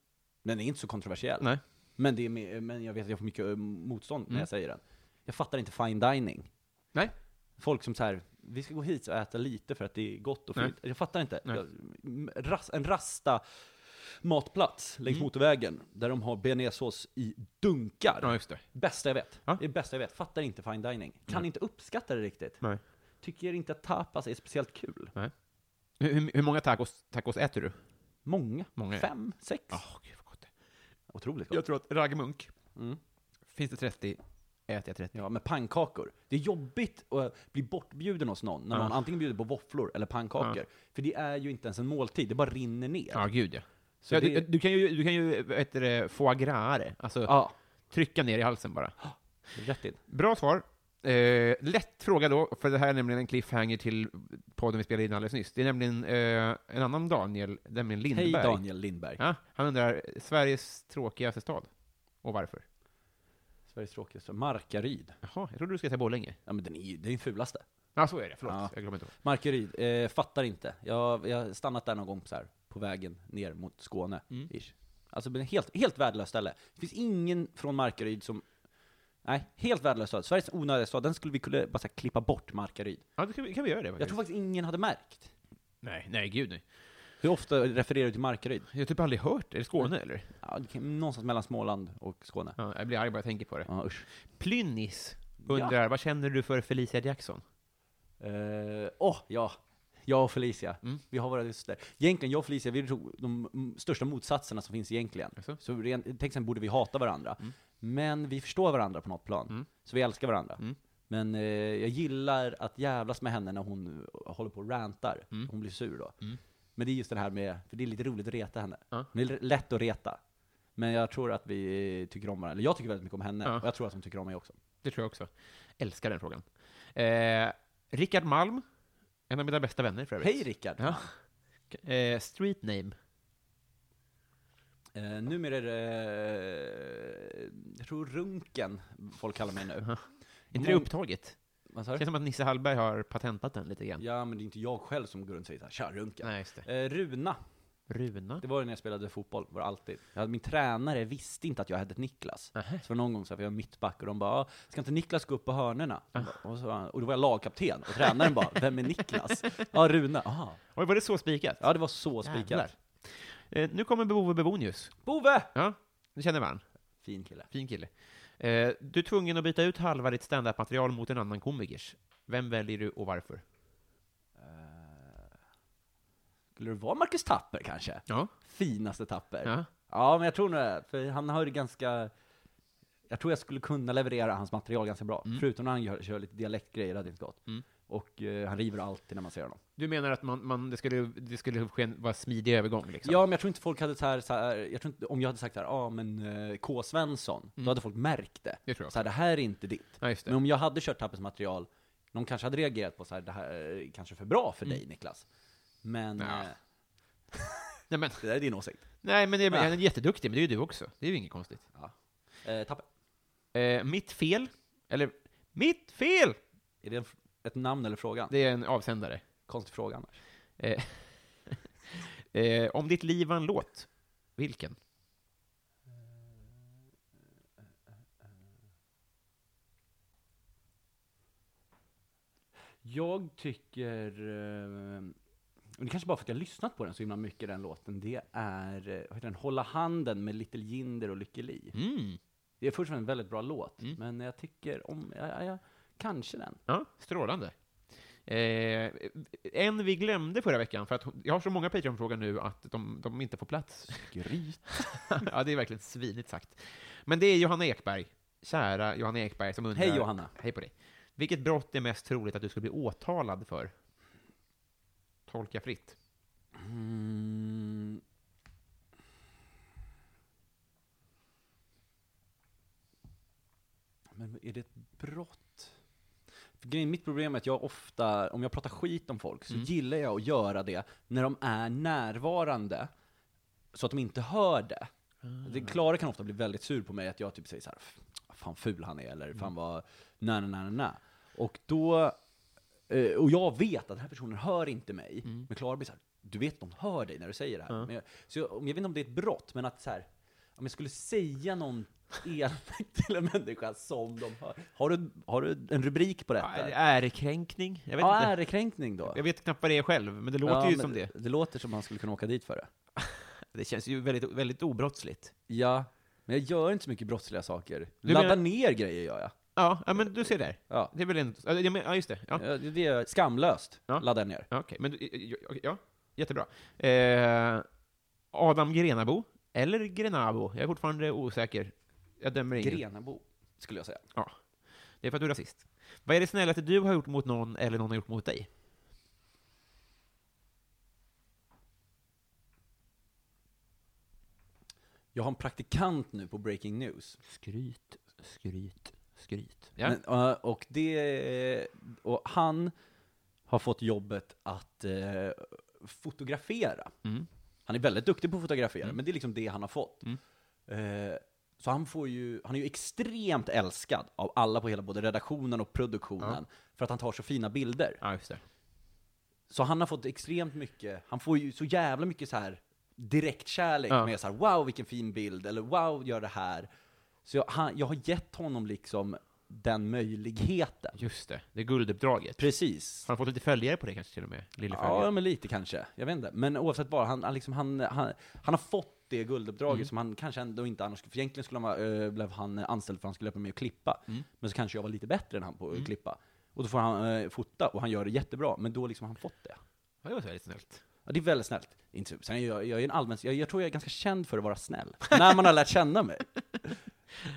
Speaker 3: Den är inte så kontroversiell.
Speaker 2: Nej.
Speaker 3: Men, det är, mer- men jag vet att jag får mycket eh, motstånd när
Speaker 2: Mm.
Speaker 3: jag säger den. Jag fattar inte fine dining.
Speaker 2: Nej.
Speaker 3: Folk som så här, vi ska gå hit och äta lite för att det är gott och
Speaker 2: Nej.
Speaker 3: fint. Jag fattar inte.
Speaker 2: Nej.
Speaker 3: Jag, m- ras, en rasta matplats längs
Speaker 2: Mm.
Speaker 3: motorvägen där de har bearnaisesås i dunkar.
Speaker 2: Ja, just det.
Speaker 3: Bästa jag vet.
Speaker 2: Ja.
Speaker 3: Det är bästa jag vet. Fattar inte fine dining. Kan inte uppskatta det riktigt.
Speaker 2: Nej.
Speaker 3: Tycker inte att tapas är speciellt kul.
Speaker 2: Hur, hur- hur många tacos, tacos äter du?
Speaker 3: Många.
Speaker 2: Många.
Speaker 3: Fem, sex.
Speaker 2: gud vad gott.
Speaker 3: Otroligt gott.
Speaker 2: Jag tror att raggmunk,
Speaker 3: Mm.
Speaker 2: finns det 30, äter jag 30.
Speaker 3: Ja, med pannkakor. Det är jobbigt att bli bortbjuden hos någon när
Speaker 2: Ja.
Speaker 3: någon antingen bjuder på våfflor eller pannkakor. För det är ju inte ens en måltid, det bara rinner ner.
Speaker 2: Ja, gud ja.
Speaker 3: Så
Speaker 2: ja du,
Speaker 3: det-
Speaker 2: du kan ju, du kan ju vad heter det, foie gras alltså
Speaker 3: Ja,
Speaker 2: trycka ner i halsen bara.
Speaker 3: rätt in.
Speaker 2: Bra svar. Eh, lätt fråga då, för det här är nämligen en cliffhanger till podden vi spelade in alldeles nyss. Det är nämligen eh, en annan Daniel, nämligen Lindberg.
Speaker 3: Hej Daniel Lindberg.
Speaker 2: Ja, han undrar, Sveriges tråkigaste stad? Och varför?
Speaker 3: Sveriges tråkigaste. Markaryd.
Speaker 2: Jaha, jag trodde du skulle säga Borlänge.
Speaker 3: Ja men den är ju den är den fulaste.
Speaker 2: Ja, så är det. Förlåt,
Speaker 3: Ja.
Speaker 2: jag glömde inte ihåg.
Speaker 3: Markaryd, eh, fattar inte. Jag, jag har stannat där någon gång så här, på vägen ner mot Skåne.
Speaker 2: Mm.
Speaker 3: Ish. Alltså men helt, helt värdelöst ställe. Det finns ingen från Markaryd som... Nej, helt värdelöst stad. Sveriges onödiga stad, den skulle vi kunna bara så här, klippa bort, Markaryd.
Speaker 2: Ja, då kan vi, kan vi göra det
Speaker 3: Jag
Speaker 2: faktiskt.
Speaker 3: tror faktiskt ingen hade märkt.
Speaker 2: Nej, nej gud nej.
Speaker 3: Hur ofta refererar du till Markaryd?
Speaker 2: Jag har typ aldrig hört, är det Skåne eller?
Speaker 3: Ja, det kan- någonstans mellan Småland och Skåne.
Speaker 2: Ja, jag blir arg bara jag tänker på det.
Speaker 3: Ja, usch.
Speaker 2: Plynnis undrar, vad känner du för Felicia Jackson?
Speaker 3: Åh, oh, ja. Jag och Felicia,
Speaker 2: Mm.
Speaker 3: vi har våra röster. Egentligen, jag och Felicia, vi tror de m- största motsatserna som finns egentligen.
Speaker 2: Jaså?
Speaker 3: Så rent tänk sen borde vi hata varandra. Men vi förstår varandra på något plan.
Speaker 2: Mm.
Speaker 3: Så vi älskar varandra.
Speaker 2: Mm.
Speaker 3: Men eh, jag gillar att jävlas med henne när hon eh, håller på och rantar.
Speaker 2: Mm.
Speaker 3: Hon blir sur då.
Speaker 2: Mm.
Speaker 3: Men det är just det här med, för det är lite roligt att reta henne.
Speaker 2: Ja.
Speaker 3: Hon är l- lätt att reta. Men jag tror att vi tycker om varandra. Eller jag tycker väldigt mycket om henne.
Speaker 2: Ja.
Speaker 3: Och jag tror att hon tycker om mig också.
Speaker 2: Det tror jag också. Älskar den frågan. Eh, Rickard Malm, en av mina bästa vänner för övrigt.
Speaker 3: Hej Rickard!
Speaker 2: Ja. Eh, street name.
Speaker 3: Eh, numera är det, eh, jag tror runken folk kallar mig nu.
Speaker 2: Är inte det
Speaker 3: Mång-
Speaker 2: upptaget?
Speaker 3: Vad sa
Speaker 2: Det
Speaker 3: du?
Speaker 2: känns som att Nisse Hallberg har patentat den lite grann.
Speaker 3: Ja, men det är inte jag själv som går runt och säger såhär, tja runken.
Speaker 2: Nej, just det.
Speaker 3: Eh, Runa,
Speaker 2: Runa.
Speaker 3: det var ju när jag spelade fotboll, var det alltid. Jag hade, min tränare visste inte att jag hette Niklas.
Speaker 2: Nähä.
Speaker 3: Så var det någon gång så här, för jag var mittback, och de bara, "Ah, ska inte Niklas gå upp på hörnorna?
Speaker 2: Ah.
Speaker 3: Och, så, var han- och då var jag lagkapten, och tränaren bara, vem är Niklas? Ja, Runa. Aha.
Speaker 2: Oj, var det så spikat?
Speaker 3: Ja, det var så spikat.
Speaker 2: Jävlar. Eh, nu kommer Bove Bebonius.
Speaker 3: Bove!
Speaker 2: Ja, du känner varandra.
Speaker 3: Fin kille.
Speaker 2: Fin kille. Eh, du är tvungen att byta ut halva ditt standup-material mot en annan komikers. Vem väljer du och varför?
Speaker 3: Eh, Skulle det vara Marcus Tapper kanske?
Speaker 2: Ja.
Speaker 3: Finaste Tapper.
Speaker 2: ja.
Speaker 3: Ja, men jag tror nog det. För han har ju ganska... Jag tror jag skulle kunna leverera hans material ganska bra. Förutom när han gör, kör lite dialektgrejer, det hade inte gått.
Speaker 2: Mm.
Speaker 3: Och eh, han river alltid när man ser honom.
Speaker 2: Du menar att man, man, det skulle, det skulle ske en, vara smidig övergång? Liksom.
Speaker 3: Ja, men jag tror inte folk hade så här, så här jag tror inte, om jag hade sagt så här, ja ah, men eh, K. Svensson,
Speaker 2: Mm.
Speaker 3: då hade folk märkt det.
Speaker 2: Det tror jag också.
Speaker 3: Så här, det här är inte ditt.
Speaker 2: Ja, just det.
Speaker 3: Men om jag hade kört Tappers material, någon kanske hade reagerat på så här, det här är kanske för bra för dig Niklas. Men,
Speaker 2: Mm. Ja.
Speaker 3: eh,
Speaker 2: Nej, men,
Speaker 3: det där är din åsikt.
Speaker 2: nej, men det,
Speaker 3: Ja.
Speaker 2: han är jätteduktig, men det är ju du också. Det är ju inget konstigt.
Speaker 3: Eh, Tapper,
Speaker 2: Eh, mitt fel, eller mitt fel!
Speaker 3: är det en, f- ett namn eller fråga?
Speaker 2: Det är en avsändare.
Speaker 3: Konstig fråga annars.
Speaker 2: Eh, eh, om ditt liv var en låt, vilken?
Speaker 3: Jag tycker, eh, och det kanske bara för att jag har lyssnat på den så himla mycket, den låten, det är eh, vad heter den, Hålla handen med Little Jinder och Lykke Li.
Speaker 2: Mm.
Speaker 3: Det är först och främst en väldigt bra låt,
Speaker 2: Mm.
Speaker 3: men jag tycker om, ja, ja, ja, kanske den.
Speaker 2: Ja, strålande. Eh, en vi glömde förra veckan, för att hon- jag har så många Patreon-frågor nu att de, de inte får plats.
Speaker 3: Gryt.
Speaker 2: ja, det är verkligen svinigt sagt. Men det är Johanna Ekberg, kära Johanna Ekberg, som undrar...
Speaker 3: Hej Johanna!
Speaker 2: Hej på dig. Vilket brott är mest troligt att du skulle bli åtalad för? Tolka fritt.
Speaker 3: Mm. Men är det ett brott? För grejen, mitt problem är att jag ofta, om jag pratar skit om folk, så gillar jag att göra det när de är närvarande, så att de inte hör det.
Speaker 2: Ah.
Speaker 3: det. Klara kan ofta bli väldigt sur på mig, att jag typ säger så här, "Vad fan ful han är, eller
Speaker 2: Mm.
Speaker 3: fan vad, na na na na na. Och då Eh, och jag vet att den här personen hör inte mig.
Speaker 2: Mm.
Speaker 3: Men Klara blir så här, du vet att de hör dig när du säger det
Speaker 2: Ah.
Speaker 3: här. Men jag, så jag, om- jag vet inte om det är ett brott, men att så här, om jag skulle säga någon elakt till en människa som de hör. Har du, har du en rubrik på detta? Ja,
Speaker 2: Ärekränkning? Jag vet inte.
Speaker 3: ärekränkning då?
Speaker 2: Jag vet knappt vad det är själv, men det låter
Speaker 3: Ja,
Speaker 2: ju
Speaker 3: men
Speaker 2: som det.
Speaker 3: Det låter som han skulle kunna åka dit för det.
Speaker 2: Det känns ju väldigt, väldigt obrottsligt.
Speaker 3: Ja, men jag gör inte så mycket brottsliga saker.
Speaker 2: Du
Speaker 3: Laddar
Speaker 2: menar-
Speaker 3: ner grejer gör jag.
Speaker 2: Ja, ja, men du ser där.
Speaker 3: Ja.
Speaker 2: Det är väl en... ja, det- Ja, just det. Ja.
Speaker 3: Ja, Det det är skamlöst.
Speaker 2: Ja.
Speaker 3: Laddar ner.
Speaker 2: Ja, Okej, men du, ja, ja, ja, jättebra. Eh, Adam Grenabo, eller Grenabo, jag är fortfarande osäker. Jag dömer ingen.
Speaker 3: Grenabo, skulle jag säga.
Speaker 2: Ja. Det är för att du är rasist. Vad är det snällaste du har gjort mot någon eller någon har gjort mot dig?
Speaker 3: Jag har en praktikant nu på Breaking News.
Speaker 2: Skryt, skryt, skryt. Ja.
Speaker 3: Men, eh, och, det, och han har fått jobbet att eh, fotografera.
Speaker 2: Mm.
Speaker 3: Han är väldigt duktig på att fotografera, men det är liksom det han har fått. Eh, så han, får ju, han är ju extremt älskad av alla på hela både redaktionen och produktionen, för att han tar så fina bilder.
Speaker 2: ja, just det.
Speaker 3: Så han har fått extremt mycket, han får ju så jävla mycket så här direktkärlek
Speaker 2: Ja.
Speaker 3: med så här wow vilken fin bild, eller wow gör det här. Så jag, han, jag har gett honom liksom den möjligheten.
Speaker 2: Just det, det är gulduppdraget.
Speaker 3: Precis.
Speaker 2: Har han fått lite följare på det kanske till och med? Lille
Speaker 3: Ja,
Speaker 2: följare.
Speaker 3: men lite kanske. Jag vet inte. Men oavsett vad, han, han, liksom, han, han, han har fått det gulduppdraget som han kanske ändå inte annars skulle, för egentligen skulle han, vara, eh, blev han anställd för att han skulle hjälpa mig att klippa. Men så kanske jag var lite bättre än han på att klippa. Och då får han eh, fota, och han gör det jättebra, men då liksom har han fått det.
Speaker 2: Ja, det var väldigt snällt.
Speaker 3: Ja, det är väldigt snällt. Inte, så- sen är jag, jag, är en allmän, jag, jag tror jag är ganska känd för att vara snäll. När man har lärt känna mig.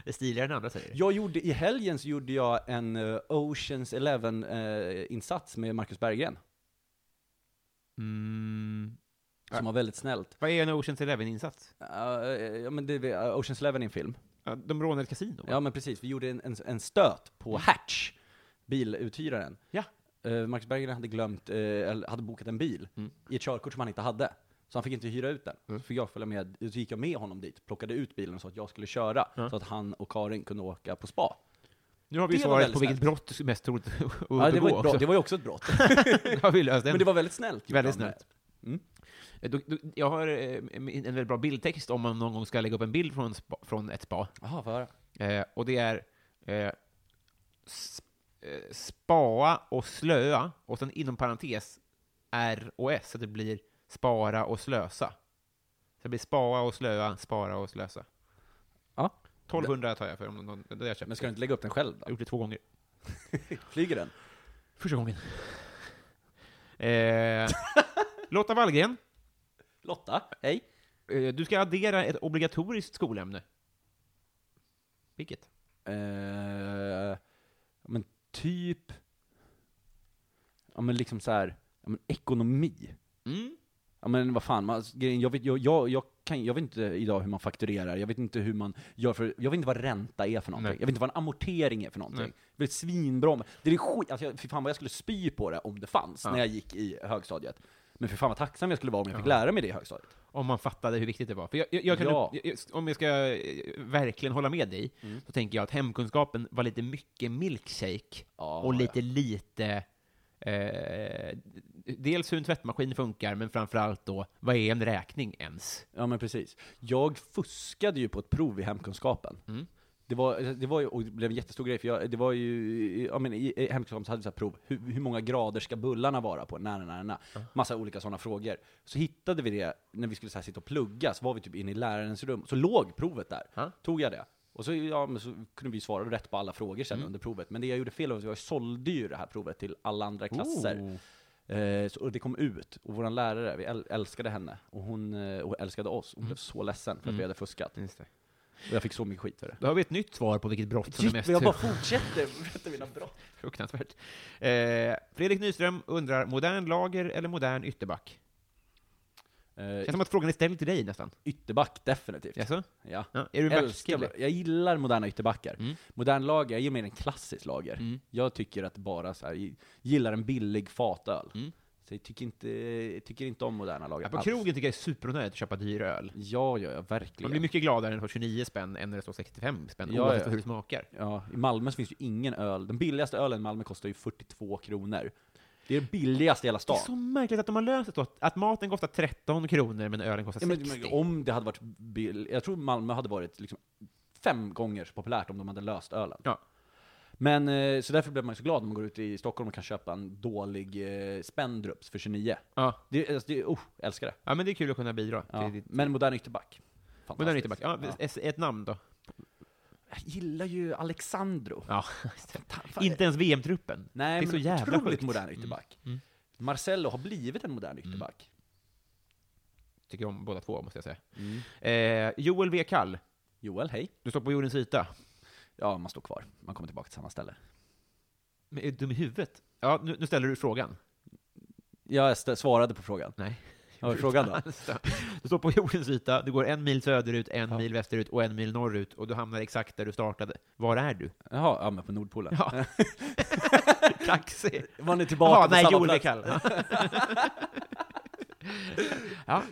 Speaker 2: Det är stiligare än andra säger.
Speaker 3: Jag gjorde, I helgen så gjorde jag en eh, Oceans Eleven-insats med Marcus Berggren,
Speaker 2: Mm.
Speaker 3: som var väldigt snällt.
Speaker 2: Vad är en Oceans Eleven-insats?
Speaker 3: Eh, eh, ja, men det, eh, Oceans Eleven är en film.
Speaker 2: Ja, De rånade ett kasino? va?
Speaker 3: Ja, men precis. Vi gjorde en, en, en stöt på Hatch, biluthyraren.
Speaker 2: Mm. Ja.
Speaker 3: Eh, Marcus Berggren hade glömt, eh, eller hade bokat en bil
Speaker 2: Mm.
Speaker 3: i ett körkort som han inte hade. Så han fick inte hyra ut den. Så fick jag följa med, så gick jag med honom dit, plockade ut bilen så att jag skulle köra, så att han och Karin kunde åka på spa.
Speaker 2: Nu har vi
Speaker 3: Det var
Speaker 2: svaret
Speaker 3: väldigt
Speaker 2: på vilket brott du mest troligt att
Speaker 3: Ja, det, var
Speaker 2: begå
Speaker 3: ett brott,
Speaker 2: också.
Speaker 3: det var ju också ett brott.
Speaker 2: Det har vi löst
Speaker 3: Men
Speaker 2: den.
Speaker 3: det var väldigt snällt. gjort
Speaker 2: Väldigt
Speaker 3: av mig.
Speaker 2: snällt. Du, du, jag har eh, en en väldigt bra bildtext om man någon gång ska lägga upp en bild från, spa, från ett spa.
Speaker 3: Jaha, får jag höra.
Speaker 2: Eh, och det är eh, sp, eh, spaa och slöa, och sen inom parentes R och S, så det blir spara och slösa. Så det blir spaa och slöa, spara och slösa.
Speaker 3: Ja.
Speaker 2: 1200 tar jag för om någon, det har jag köpt.
Speaker 3: Men ska du inte lägga upp den själv
Speaker 2: Jag
Speaker 3: då?
Speaker 2: har gjort det två gånger.
Speaker 3: Flyger den?
Speaker 2: Första gången. Eh, Lotta Wallgren,
Speaker 3: Lotta, hej.
Speaker 2: eh, du ska addera ett obligatoriskt skolämne. Vilket?
Speaker 3: Eh, ja, men typ, ja men liksom så här, ja, men ekonomi.
Speaker 2: Mm.
Speaker 3: Ja men vad fan, man, alltså, grejen- jag, vet, jag, jag, jag, kan, jag vet inte idag hur man fakturerar, jag vet inte hur man gör för, jag vet inte vad ränta är för någonting,
Speaker 2: Nej.
Speaker 3: jag vet inte vad en amortering är för någonting.
Speaker 2: Nej.
Speaker 3: Jag vet svinbra om- det är skit, alltså jag, fy fan vad jag skulle spy på det om det fanns
Speaker 2: Ja.
Speaker 3: när jag gick i högstadiet. Men för fan vad tacksam jag skulle vara om jag fick lära mig det i högstadiet.
Speaker 2: Om man fattade hur viktigt det var. För jag, jag, jag kan,
Speaker 3: Ja. Mm.
Speaker 2: jag, jag, om jag ska eh, verkligen hålla med dig, så tänker jag att hemkunskapen var lite mycket milkshake,
Speaker 3: Ja,
Speaker 2: och lite lite... Eh, dels hur en tvättmaskin funkar, men framförallt då, vad är en räkning ens?
Speaker 3: Ja men precis. Jag fuskade ju på ett prov i hemkunskapen. Det var, det var ju, och det blev en jättestor grej, för jag, det var ju, ja men i i hemkunskapen så hade vi så här prov, hur, hur många grader ska bullarna vara på? Nä, nä, nä, nä. Massa olika sådana frågor. Så hittade vi det, när vi skulle så här sitta och plugga, så var vi typ inne i lärarens rum, så låg provet där.
Speaker 2: Ja.
Speaker 3: Tog jag det. Och så, ja, men så kunde vi svara rätt på alla frågor sen under provet. Men det jag gjorde fel var att jag sålde ju det här provet till alla
Speaker 2: Oh.
Speaker 3: andra klasser. Eh, så, och det kom ut, och vår
Speaker 2: Mm.
Speaker 3: lärare, vi äl- älskade henne, och hon eh, och älskade oss. Hon blev så ledsen för att vi hade fuskat.
Speaker 2: Just det.
Speaker 3: Och jag fick så mycket skit för det.
Speaker 2: Då har vi ett nytt svar på vilket brott som är mest typ.
Speaker 3: Shit, men jag bara fortsätter berätta mina brott.
Speaker 2: fruktansvärt. Eh, Fredrik Nyström undrar, modern lager eller modern ytterback?
Speaker 3: Eh,
Speaker 2: Känns som att frågan är ställd till dig nästan.
Speaker 3: ytterback, definitivt.
Speaker 2: Jaså?
Speaker 3: Ja.
Speaker 2: Ja, är du en backskille?
Speaker 3: Älskar, jag gillar moderna ytterbackar.
Speaker 2: Mm.
Speaker 3: Modern lager, jag gillar mer en klassisk lager. Jag tycker att bara så här, gillar en billig fatöl.
Speaker 2: Mm.
Speaker 3: Så jag tycker inte, jag tycker inte om moderna lager
Speaker 2: Ja, på
Speaker 3: alls.
Speaker 2: krogen tycker jag det är superonödigt att köpa dyr öl.
Speaker 3: Ja, ja, ja, verkligen.
Speaker 2: Man blir mycket gladare när det står 29 spänn än när det står 65 spänn,
Speaker 3: Ja,
Speaker 2: oavsett
Speaker 3: ja.
Speaker 2: hur det smakar.
Speaker 3: Ja, I Malmö så finns ju ingen öl. Den billigaste ölen i Malmö kostar ju 42 kronor. Det är den billigaste i hela
Speaker 2: Det är
Speaker 3: stan.
Speaker 2: så märkligt att de har löst det så, att- att maten kostar 13 kronor men ölen kostar
Speaker 3: Ja,
Speaker 2: 60.
Speaker 3: men, men om det hade varit bill... Jag tror Malmö hade varit liksom fem gånger så populärt om de hade löst ölen.
Speaker 2: Ja.
Speaker 3: Men, eh, så därför blir man ju så glad när man går ut i Stockholm och kan köpa en dålig eh, Spendrups för 29.
Speaker 2: Ja.
Speaker 3: Det, är- alltså, det, är- oh, jag älskar det.
Speaker 2: ja, men det är kul att kunna bidra.
Speaker 3: Ja.
Speaker 2: till ditt-
Speaker 3: Men modern ytterback. Fantastiskt.
Speaker 2: Modern ytterback. Ja,
Speaker 3: Ja.
Speaker 2: Ett, ett namn då?
Speaker 3: Jag gillar ju Alexandro.
Speaker 2: Ja.
Speaker 3: Fan, fan,
Speaker 2: Inte ens VM-truppen.
Speaker 3: Nej,
Speaker 2: det är
Speaker 3: men
Speaker 2: så jävla
Speaker 3: otroligt
Speaker 2: sjukt. Mm.
Speaker 3: modern ytterback. Marcello har blivit en modern ytterback.
Speaker 2: Tycker om båda två, måste jag säga. Eh, Joel W. Kall,
Speaker 3: Joel, hej.
Speaker 2: du står på jordens yta.
Speaker 3: Ja, man står kvar. Man kommer tillbaka till samma ställe.
Speaker 2: Men är du dum i huvudet? Ja, nu, nu ställer du frågan.
Speaker 3: Jag stä- svarade på frågan.
Speaker 2: Nej.
Speaker 3: Vad var frågan då?
Speaker 2: Du står på jordens yta, du går en mil söderut, en mil västerut och en mil norrut och du hamnar exakt där du startade. Var är du?
Speaker 3: Jaha, ja men på Nordpolen.
Speaker 2: Ja. Kaxig.
Speaker 3: Var ni tillbaka
Speaker 2: Ja,
Speaker 3: på
Speaker 2: nej,
Speaker 3: samma
Speaker 2: Joel W.
Speaker 3: plats?
Speaker 2: Kall. ja.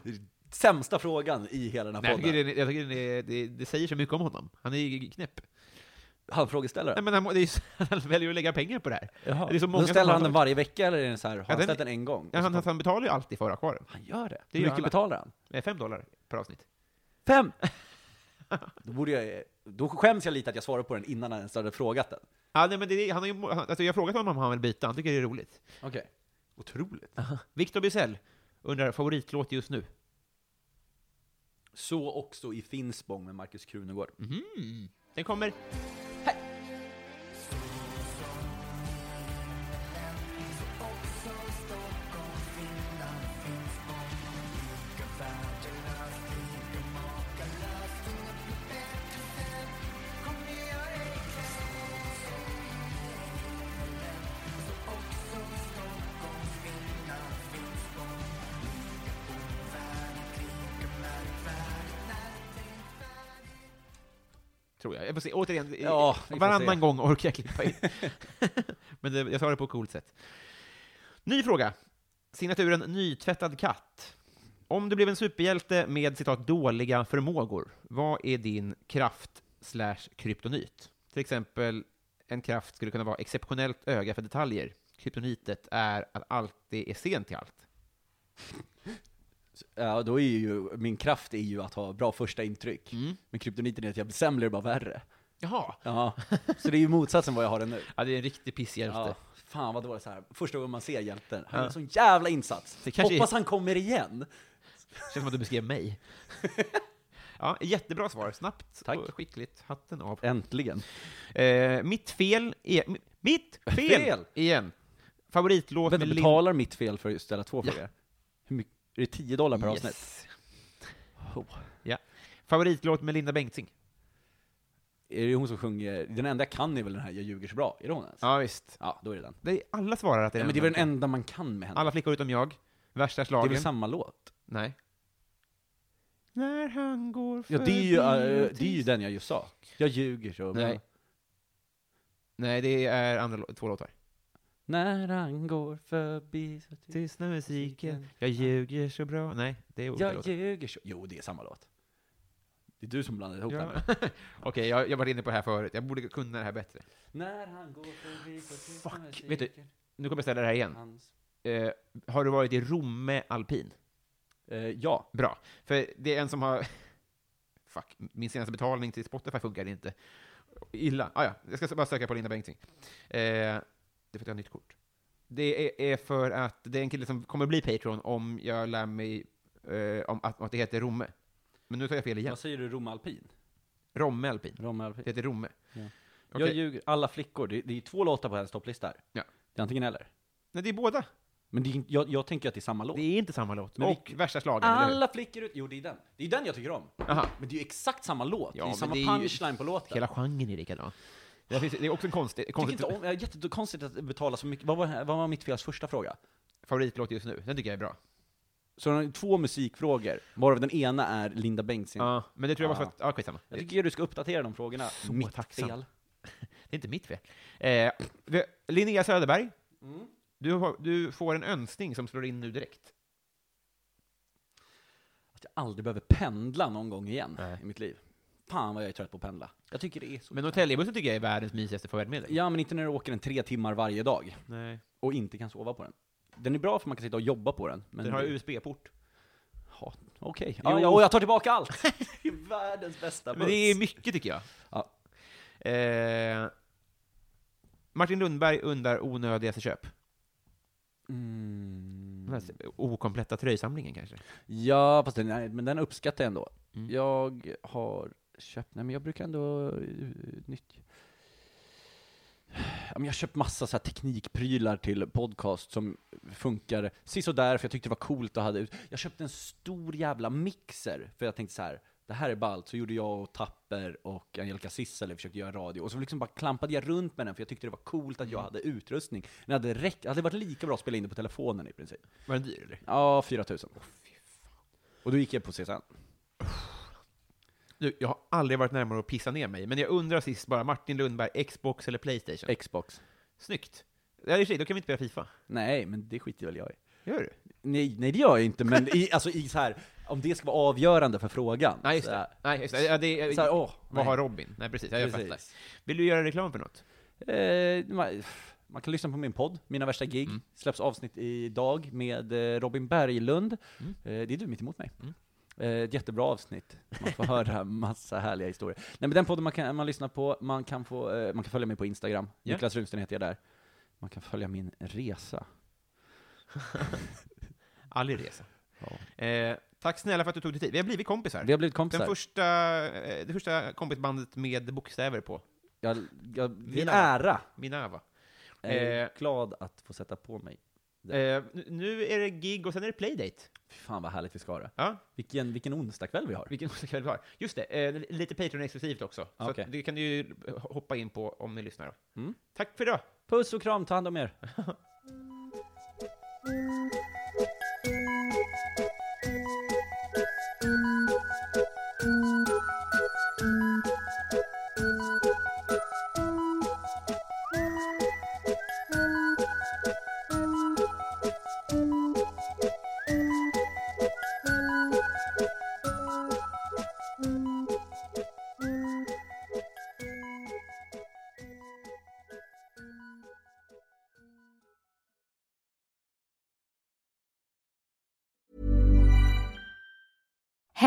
Speaker 3: Sämsta frågan i hela
Speaker 2: Nej,
Speaker 3: den här
Speaker 2: jag tycker,
Speaker 3: podden.
Speaker 2: det, jag tycker det, det, det säger så mycket om honom. Han är ju knäpp.
Speaker 3: Han frågeställare.
Speaker 2: Nej, men han, må- det är, ju så- han väljer ju att lägga pengar på det här.
Speaker 3: Jaha.
Speaker 2: det är så många
Speaker 3: Då ställer
Speaker 2: som
Speaker 3: han
Speaker 2: har-
Speaker 3: den varje vecka, eller är den så här, har han
Speaker 2: den-
Speaker 3: ställt den en gång?
Speaker 2: Ja,
Speaker 3: Och så
Speaker 2: han,
Speaker 3: kommer-
Speaker 2: han betalar ju alltid för att ha kvar den.
Speaker 3: han gör det?
Speaker 2: Det
Speaker 3: Hur
Speaker 2: gör
Speaker 3: mycket
Speaker 2: alla.
Speaker 3: betalar han?
Speaker 2: Eh, Fem dollar per avsnitt.
Speaker 3: Fem! då, borde jag, då skäms jag lite att jag svarade på den innan han ens hade frågat den.
Speaker 2: Ja, nej, men det, är- han har ju, han, alltså, jag har frågat honom om han vill byta, han tycker det är roligt.
Speaker 3: Okej. Otroligt.
Speaker 2: Victor Bizell undrar favoritlåt just nu.
Speaker 3: Så också i Finspång med Markus Krunegård.
Speaker 2: Den kommer... Tror jag. jag får se. Återigen, i-
Speaker 3: Ja, vi får
Speaker 2: varannan
Speaker 3: se.
Speaker 2: gång orkar jag klippa in. Men det, jag sa det på ett coolt sätt. Ny fråga. Signaturen Nytvättad katt. Om du blev en superhjälte med citat dåliga förmågor, vad är din kraft slash kryptonit? Till exempel, en kraft skulle kunna vara exceptionellt öga för detaljer. Kryptonitet är att alltid är sen till allt.
Speaker 3: Ja, då är ju, min kraft är ju att ha bra första intryck. Men kryptoniten är att jag blir sämre, bara värre.
Speaker 2: Jaha!
Speaker 3: Ja. Så det är ju motsatsen vad jag har den nu.
Speaker 2: Ja, det är en riktig pisshjälte.
Speaker 3: Ja, fan vad dåligt så här. Första gången man ser hjälten, han gör en sån jävla insats.
Speaker 2: Det kanske är-
Speaker 3: Hoppas han kommer igen.
Speaker 2: Känns som att du beskrev mig. Ja, jättebra svar. Snabbt
Speaker 3: Tack.
Speaker 2: och skickligt. Hatten av.
Speaker 3: Äntligen.
Speaker 2: Eh, mitt fel är... mi- Mitt fel!
Speaker 3: Fel!
Speaker 2: Igen. Favoritlåt
Speaker 3: Vänta,
Speaker 2: med Lin-
Speaker 3: betalar mitt fel för att ställa två frågor? Hur mycket? Är det 10 dollar per avsnitt?
Speaker 2: Yes.
Speaker 3: Oh.
Speaker 2: Ja. Favoritlåt med Linda Bengtzing.
Speaker 3: Är det hon som sjunger, den enda jag kan är väl den här 'Jag ljuger så bra'? Är det hon ens?
Speaker 2: Ja, visst.
Speaker 3: Ja, då är det den.
Speaker 2: Det är, alla svarar att det är
Speaker 3: Ja, men det är
Speaker 2: den.
Speaker 3: väl den enda man kan med henne?
Speaker 2: Alla flickor utom jag. Värsta
Speaker 3: det är
Speaker 2: slagen.
Speaker 3: väl samma låt?
Speaker 2: Nej. När han går
Speaker 3: Ja, det är
Speaker 2: förbi
Speaker 3: ju, eh,
Speaker 2: och
Speaker 3: det är ju
Speaker 2: tyst-
Speaker 3: den jag just sa. Jag ljuger så bra.
Speaker 2: Nej. Nej, det är andra lå- två låtar.
Speaker 3: När han går förbi så tyst.
Speaker 2: Tystna musiken, jag ljuger så bra. Nej, det är olika
Speaker 3: Jag
Speaker 2: låtar.
Speaker 3: ljuger så... Jo, det är samma låt. Det är du som blandade ihop den.
Speaker 2: Ja. Okej, jag, jag var inne på det här förut. Jag borde kunna det här bättre.
Speaker 3: När han går förbi så tyst
Speaker 2: Fuck,
Speaker 3: musiken,
Speaker 2: vet du- Nu kommer jag ställa det här igen.
Speaker 3: hans-
Speaker 2: Eh, har du varit i Romme alpin?
Speaker 3: Eh, ja.
Speaker 2: Bra. För det är en som har... Fuck, min senaste betalning till Spotify funkar inte. Illa. Ah, ja. Jag ska bara söka på Linda Bengtzing. Eh, det är för att jag har nytt kort. Det är, är för att det är en kille som kommer bli Patreon om jag lär mig eh, om att, att det heter Romme. Men nu tar jag fel igen.
Speaker 3: Vad säger du, Rom Alpin?
Speaker 2: Romme alpin.
Speaker 3: Rom
Speaker 2: Det
Speaker 3: Alpin.
Speaker 2: heter Romme.
Speaker 3: Ja.
Speaker 2: Okej.
Speaker 3: Jag ljuger. Alla flickor. Det, det är två låtar på hennes topplista. här.
Speaker 2: Ja.
Speaker 3: Det är antingen eller.
Speaker 2: Nej, det är båda.
Speaker 3: Men det, är- jag, jag tänker att det är samma låt.
Speaker 2: Det är inte samma låt.
Speaker 3: Men
Speaker 2: och
Speaker 3: vi-
Speaker 2: värsta slagen, eller hur?
Speaker 3: Alla flickor ut... Jo, det är den. Det är den jag tycker om.
Speaker 2: Aha.
Speaker 3: Men det är ju exakt samma
Speaker 2: Ja,
Speaker 3: låt. det är
Speaker 2: men
Speaker 3: ju samma
Speaker 2: det är ju-
Speaker 3: punchline på låten.
Speaker 2: Hela genren är likadan. Det finns- det är också en konstig,
Speaker 3: Jag
Speaker 2: konstig
Speaker 3: tycker inte om, jag är jättekonstigt att betala så mycket. Vad var, vad var mitt fels första fråga?
Speaker 2: favoritlåt just nu. Den tycker jag är bra.
Speaker 3: Så har han två musikfrågor, varav den ena är Linda Bengtzing.
Speaker 2: Ja, men det tror jag var
Speaker 3: Ja.
Speaker 2: för att, ja skitsamma.
Speaker 3: Jag tycker du ska uppdatera de frågorna. Så mitt
Speaker 2: tacksam.
Speaker 3: fel.
Speaker 2: Det är inte mitt fel. Eh, vi- Linnea Söderberg,
Speaker 3: Mm.
Speaker 2: du, har, du får en önskning som slår in nu direkt.
Speaker 3: Att jag aldrig behöver pendla någon gång igen
Speaker 2: Nej.
Speaker 3: i mitt liv. Fan vad jag är trött på att pendla. Jag tycker det är så...
Speaker 2: Men Norrtäljebussen tycker jag är världens mysigaste färdmedel.
Speaker 3: Ja, men inte när du åker den tre timmar varje dag
Speaker 2: Nej.
Speaker 3: och inte kan sova på den. Den är bra för man kan sitta och jobba på den. Men
Speaker 2: Den har USB-port.
Speaker 3: Ja, Okej.
Speaker 2: Jo.
Speaker 3: Ja, ja, och jag tar tillbaka allt! Det är Världens bästa
Speaker 2: Men det är mycket tycker jag.
Speaker 3: Ja.
Speaker 2: Eh, Martin Lundberg undrar onödigaste köp.
Speaker 3: Mm.
Speaker 2: Den här Okompletta tröjsamlingen kanske?
Speaker 3: Ja, fast den, nej, men den uppskattar jag ändå.
Speaker 2: Mm.
Speaker 3: Jag har köpt, nej men jag brukar ändå eh, nyttja... Ja, men jag har köpt massa så här teknikprylar till podcast som funkar sisådär för jag tyckte det var coolt att ha det ut. Jag köpte en stor jävla mixer för jag tänkte så här. Det här är ballt, så gjorde jag och Tapper och Angelica Sissele försökte göra radio. Och så liksom bara klampade jag runt med den för jag tyckte det var coolt att jag hade utrustning. Den hade räckt, det hade varit lika bra att spela in det på telefonen i princip.
Speaker 2: Var den dyr eller?
Speaker 3: Ja, 4000. Och då gick jag på CSN.
Speaker 2: Du, jag har aldrig varit närmare att pissa ner mig, men jag undrar sist bara, Martin Lundberg, Xbox eller Playstation?
Speaker 3: Xbox.
Speaker 2: Snyggt! Ja, i och för sig, då kan vi inte spela Fifa.
Speaker 3: Nej, men det skiter väl jag i.
Speaker 2: Gör du?
Speaker 3: Nej, nej det gör jag inte, men i, alltså i så här, om det ska vara avgörande för frågan.
Speaker 2: Nej, just
Speaker 3: så
Speaker 2: det.
Speaker 3: här-
Speaker 2: Nej, just det. Ja, det
Speaker 3: Så här, åh,
Speaker 2: vad
Speaker 3: nej.
Speaker 2: har Robin? Nej, precis. Ja, jag
Speaker 3: Precis.
Speaker 2: fattar. Vill du göra reklam för något?
Speaker 3: Eh, man, man kan lyssna på min podd, Mina värsta gig.
Speaker 2: Mm.
Speaker 3: Släpps avsnitt idag med eh, Robin Berglund.
Speaker 2: Mm.
Speaker 3: Eh, det är du mitt emot mig.
Speaker 2: Mm.
Speaker 3: Eh, ett jättebra avsnitt. Man får höra massa härliga historier. Nej men den podden man kan man lyssna på, man kan, få, eh, man kan följa mig på Instagram.
Speaker 2: Ja.
Speaker 3: Niklas Runsten heter jag där. Man kan följa min resa.
Speaker 2: Aldrig resa.
Speaker 3: Ja.
Speaker 2: Eh, tack snälla för att du tog dig tid. Vi har blivit kompisar.
Speaker 3: Vi har blivit kompisar.
Speaker 2: Den första, eh, det första kompisbandet med bokstäver på.
Speaker 3: Jag, jag, det är en
Speaker 2: Mina.
Speaker 3: ära.
Speaker 2: Minava.
Speaker 3: Jag är
Speaker 2: Eh.
Speaker 3: glad att få sätta på mig.
Speaker 2: Eh, nu- nu är det gig och sen är det playdate.
Speaker 3: Fy fan vad härligt vi ska ha det.
Speaker 2: Ja,
Speaker 3: Vilken, vilken onsdagkväll vi har.
Speaker 2: vilken kväll vi har. Just det, eh, lite Patreon-exklusivt också. Så
Speaker 3: Okej.
Speaker 2: att det kan du ju hoppa in på om ni lyssnar. Då.
Speaker 3: Mm.
Speaker 2: Tack för idag!
Speaker 3: Puss och kram, ta hand om er.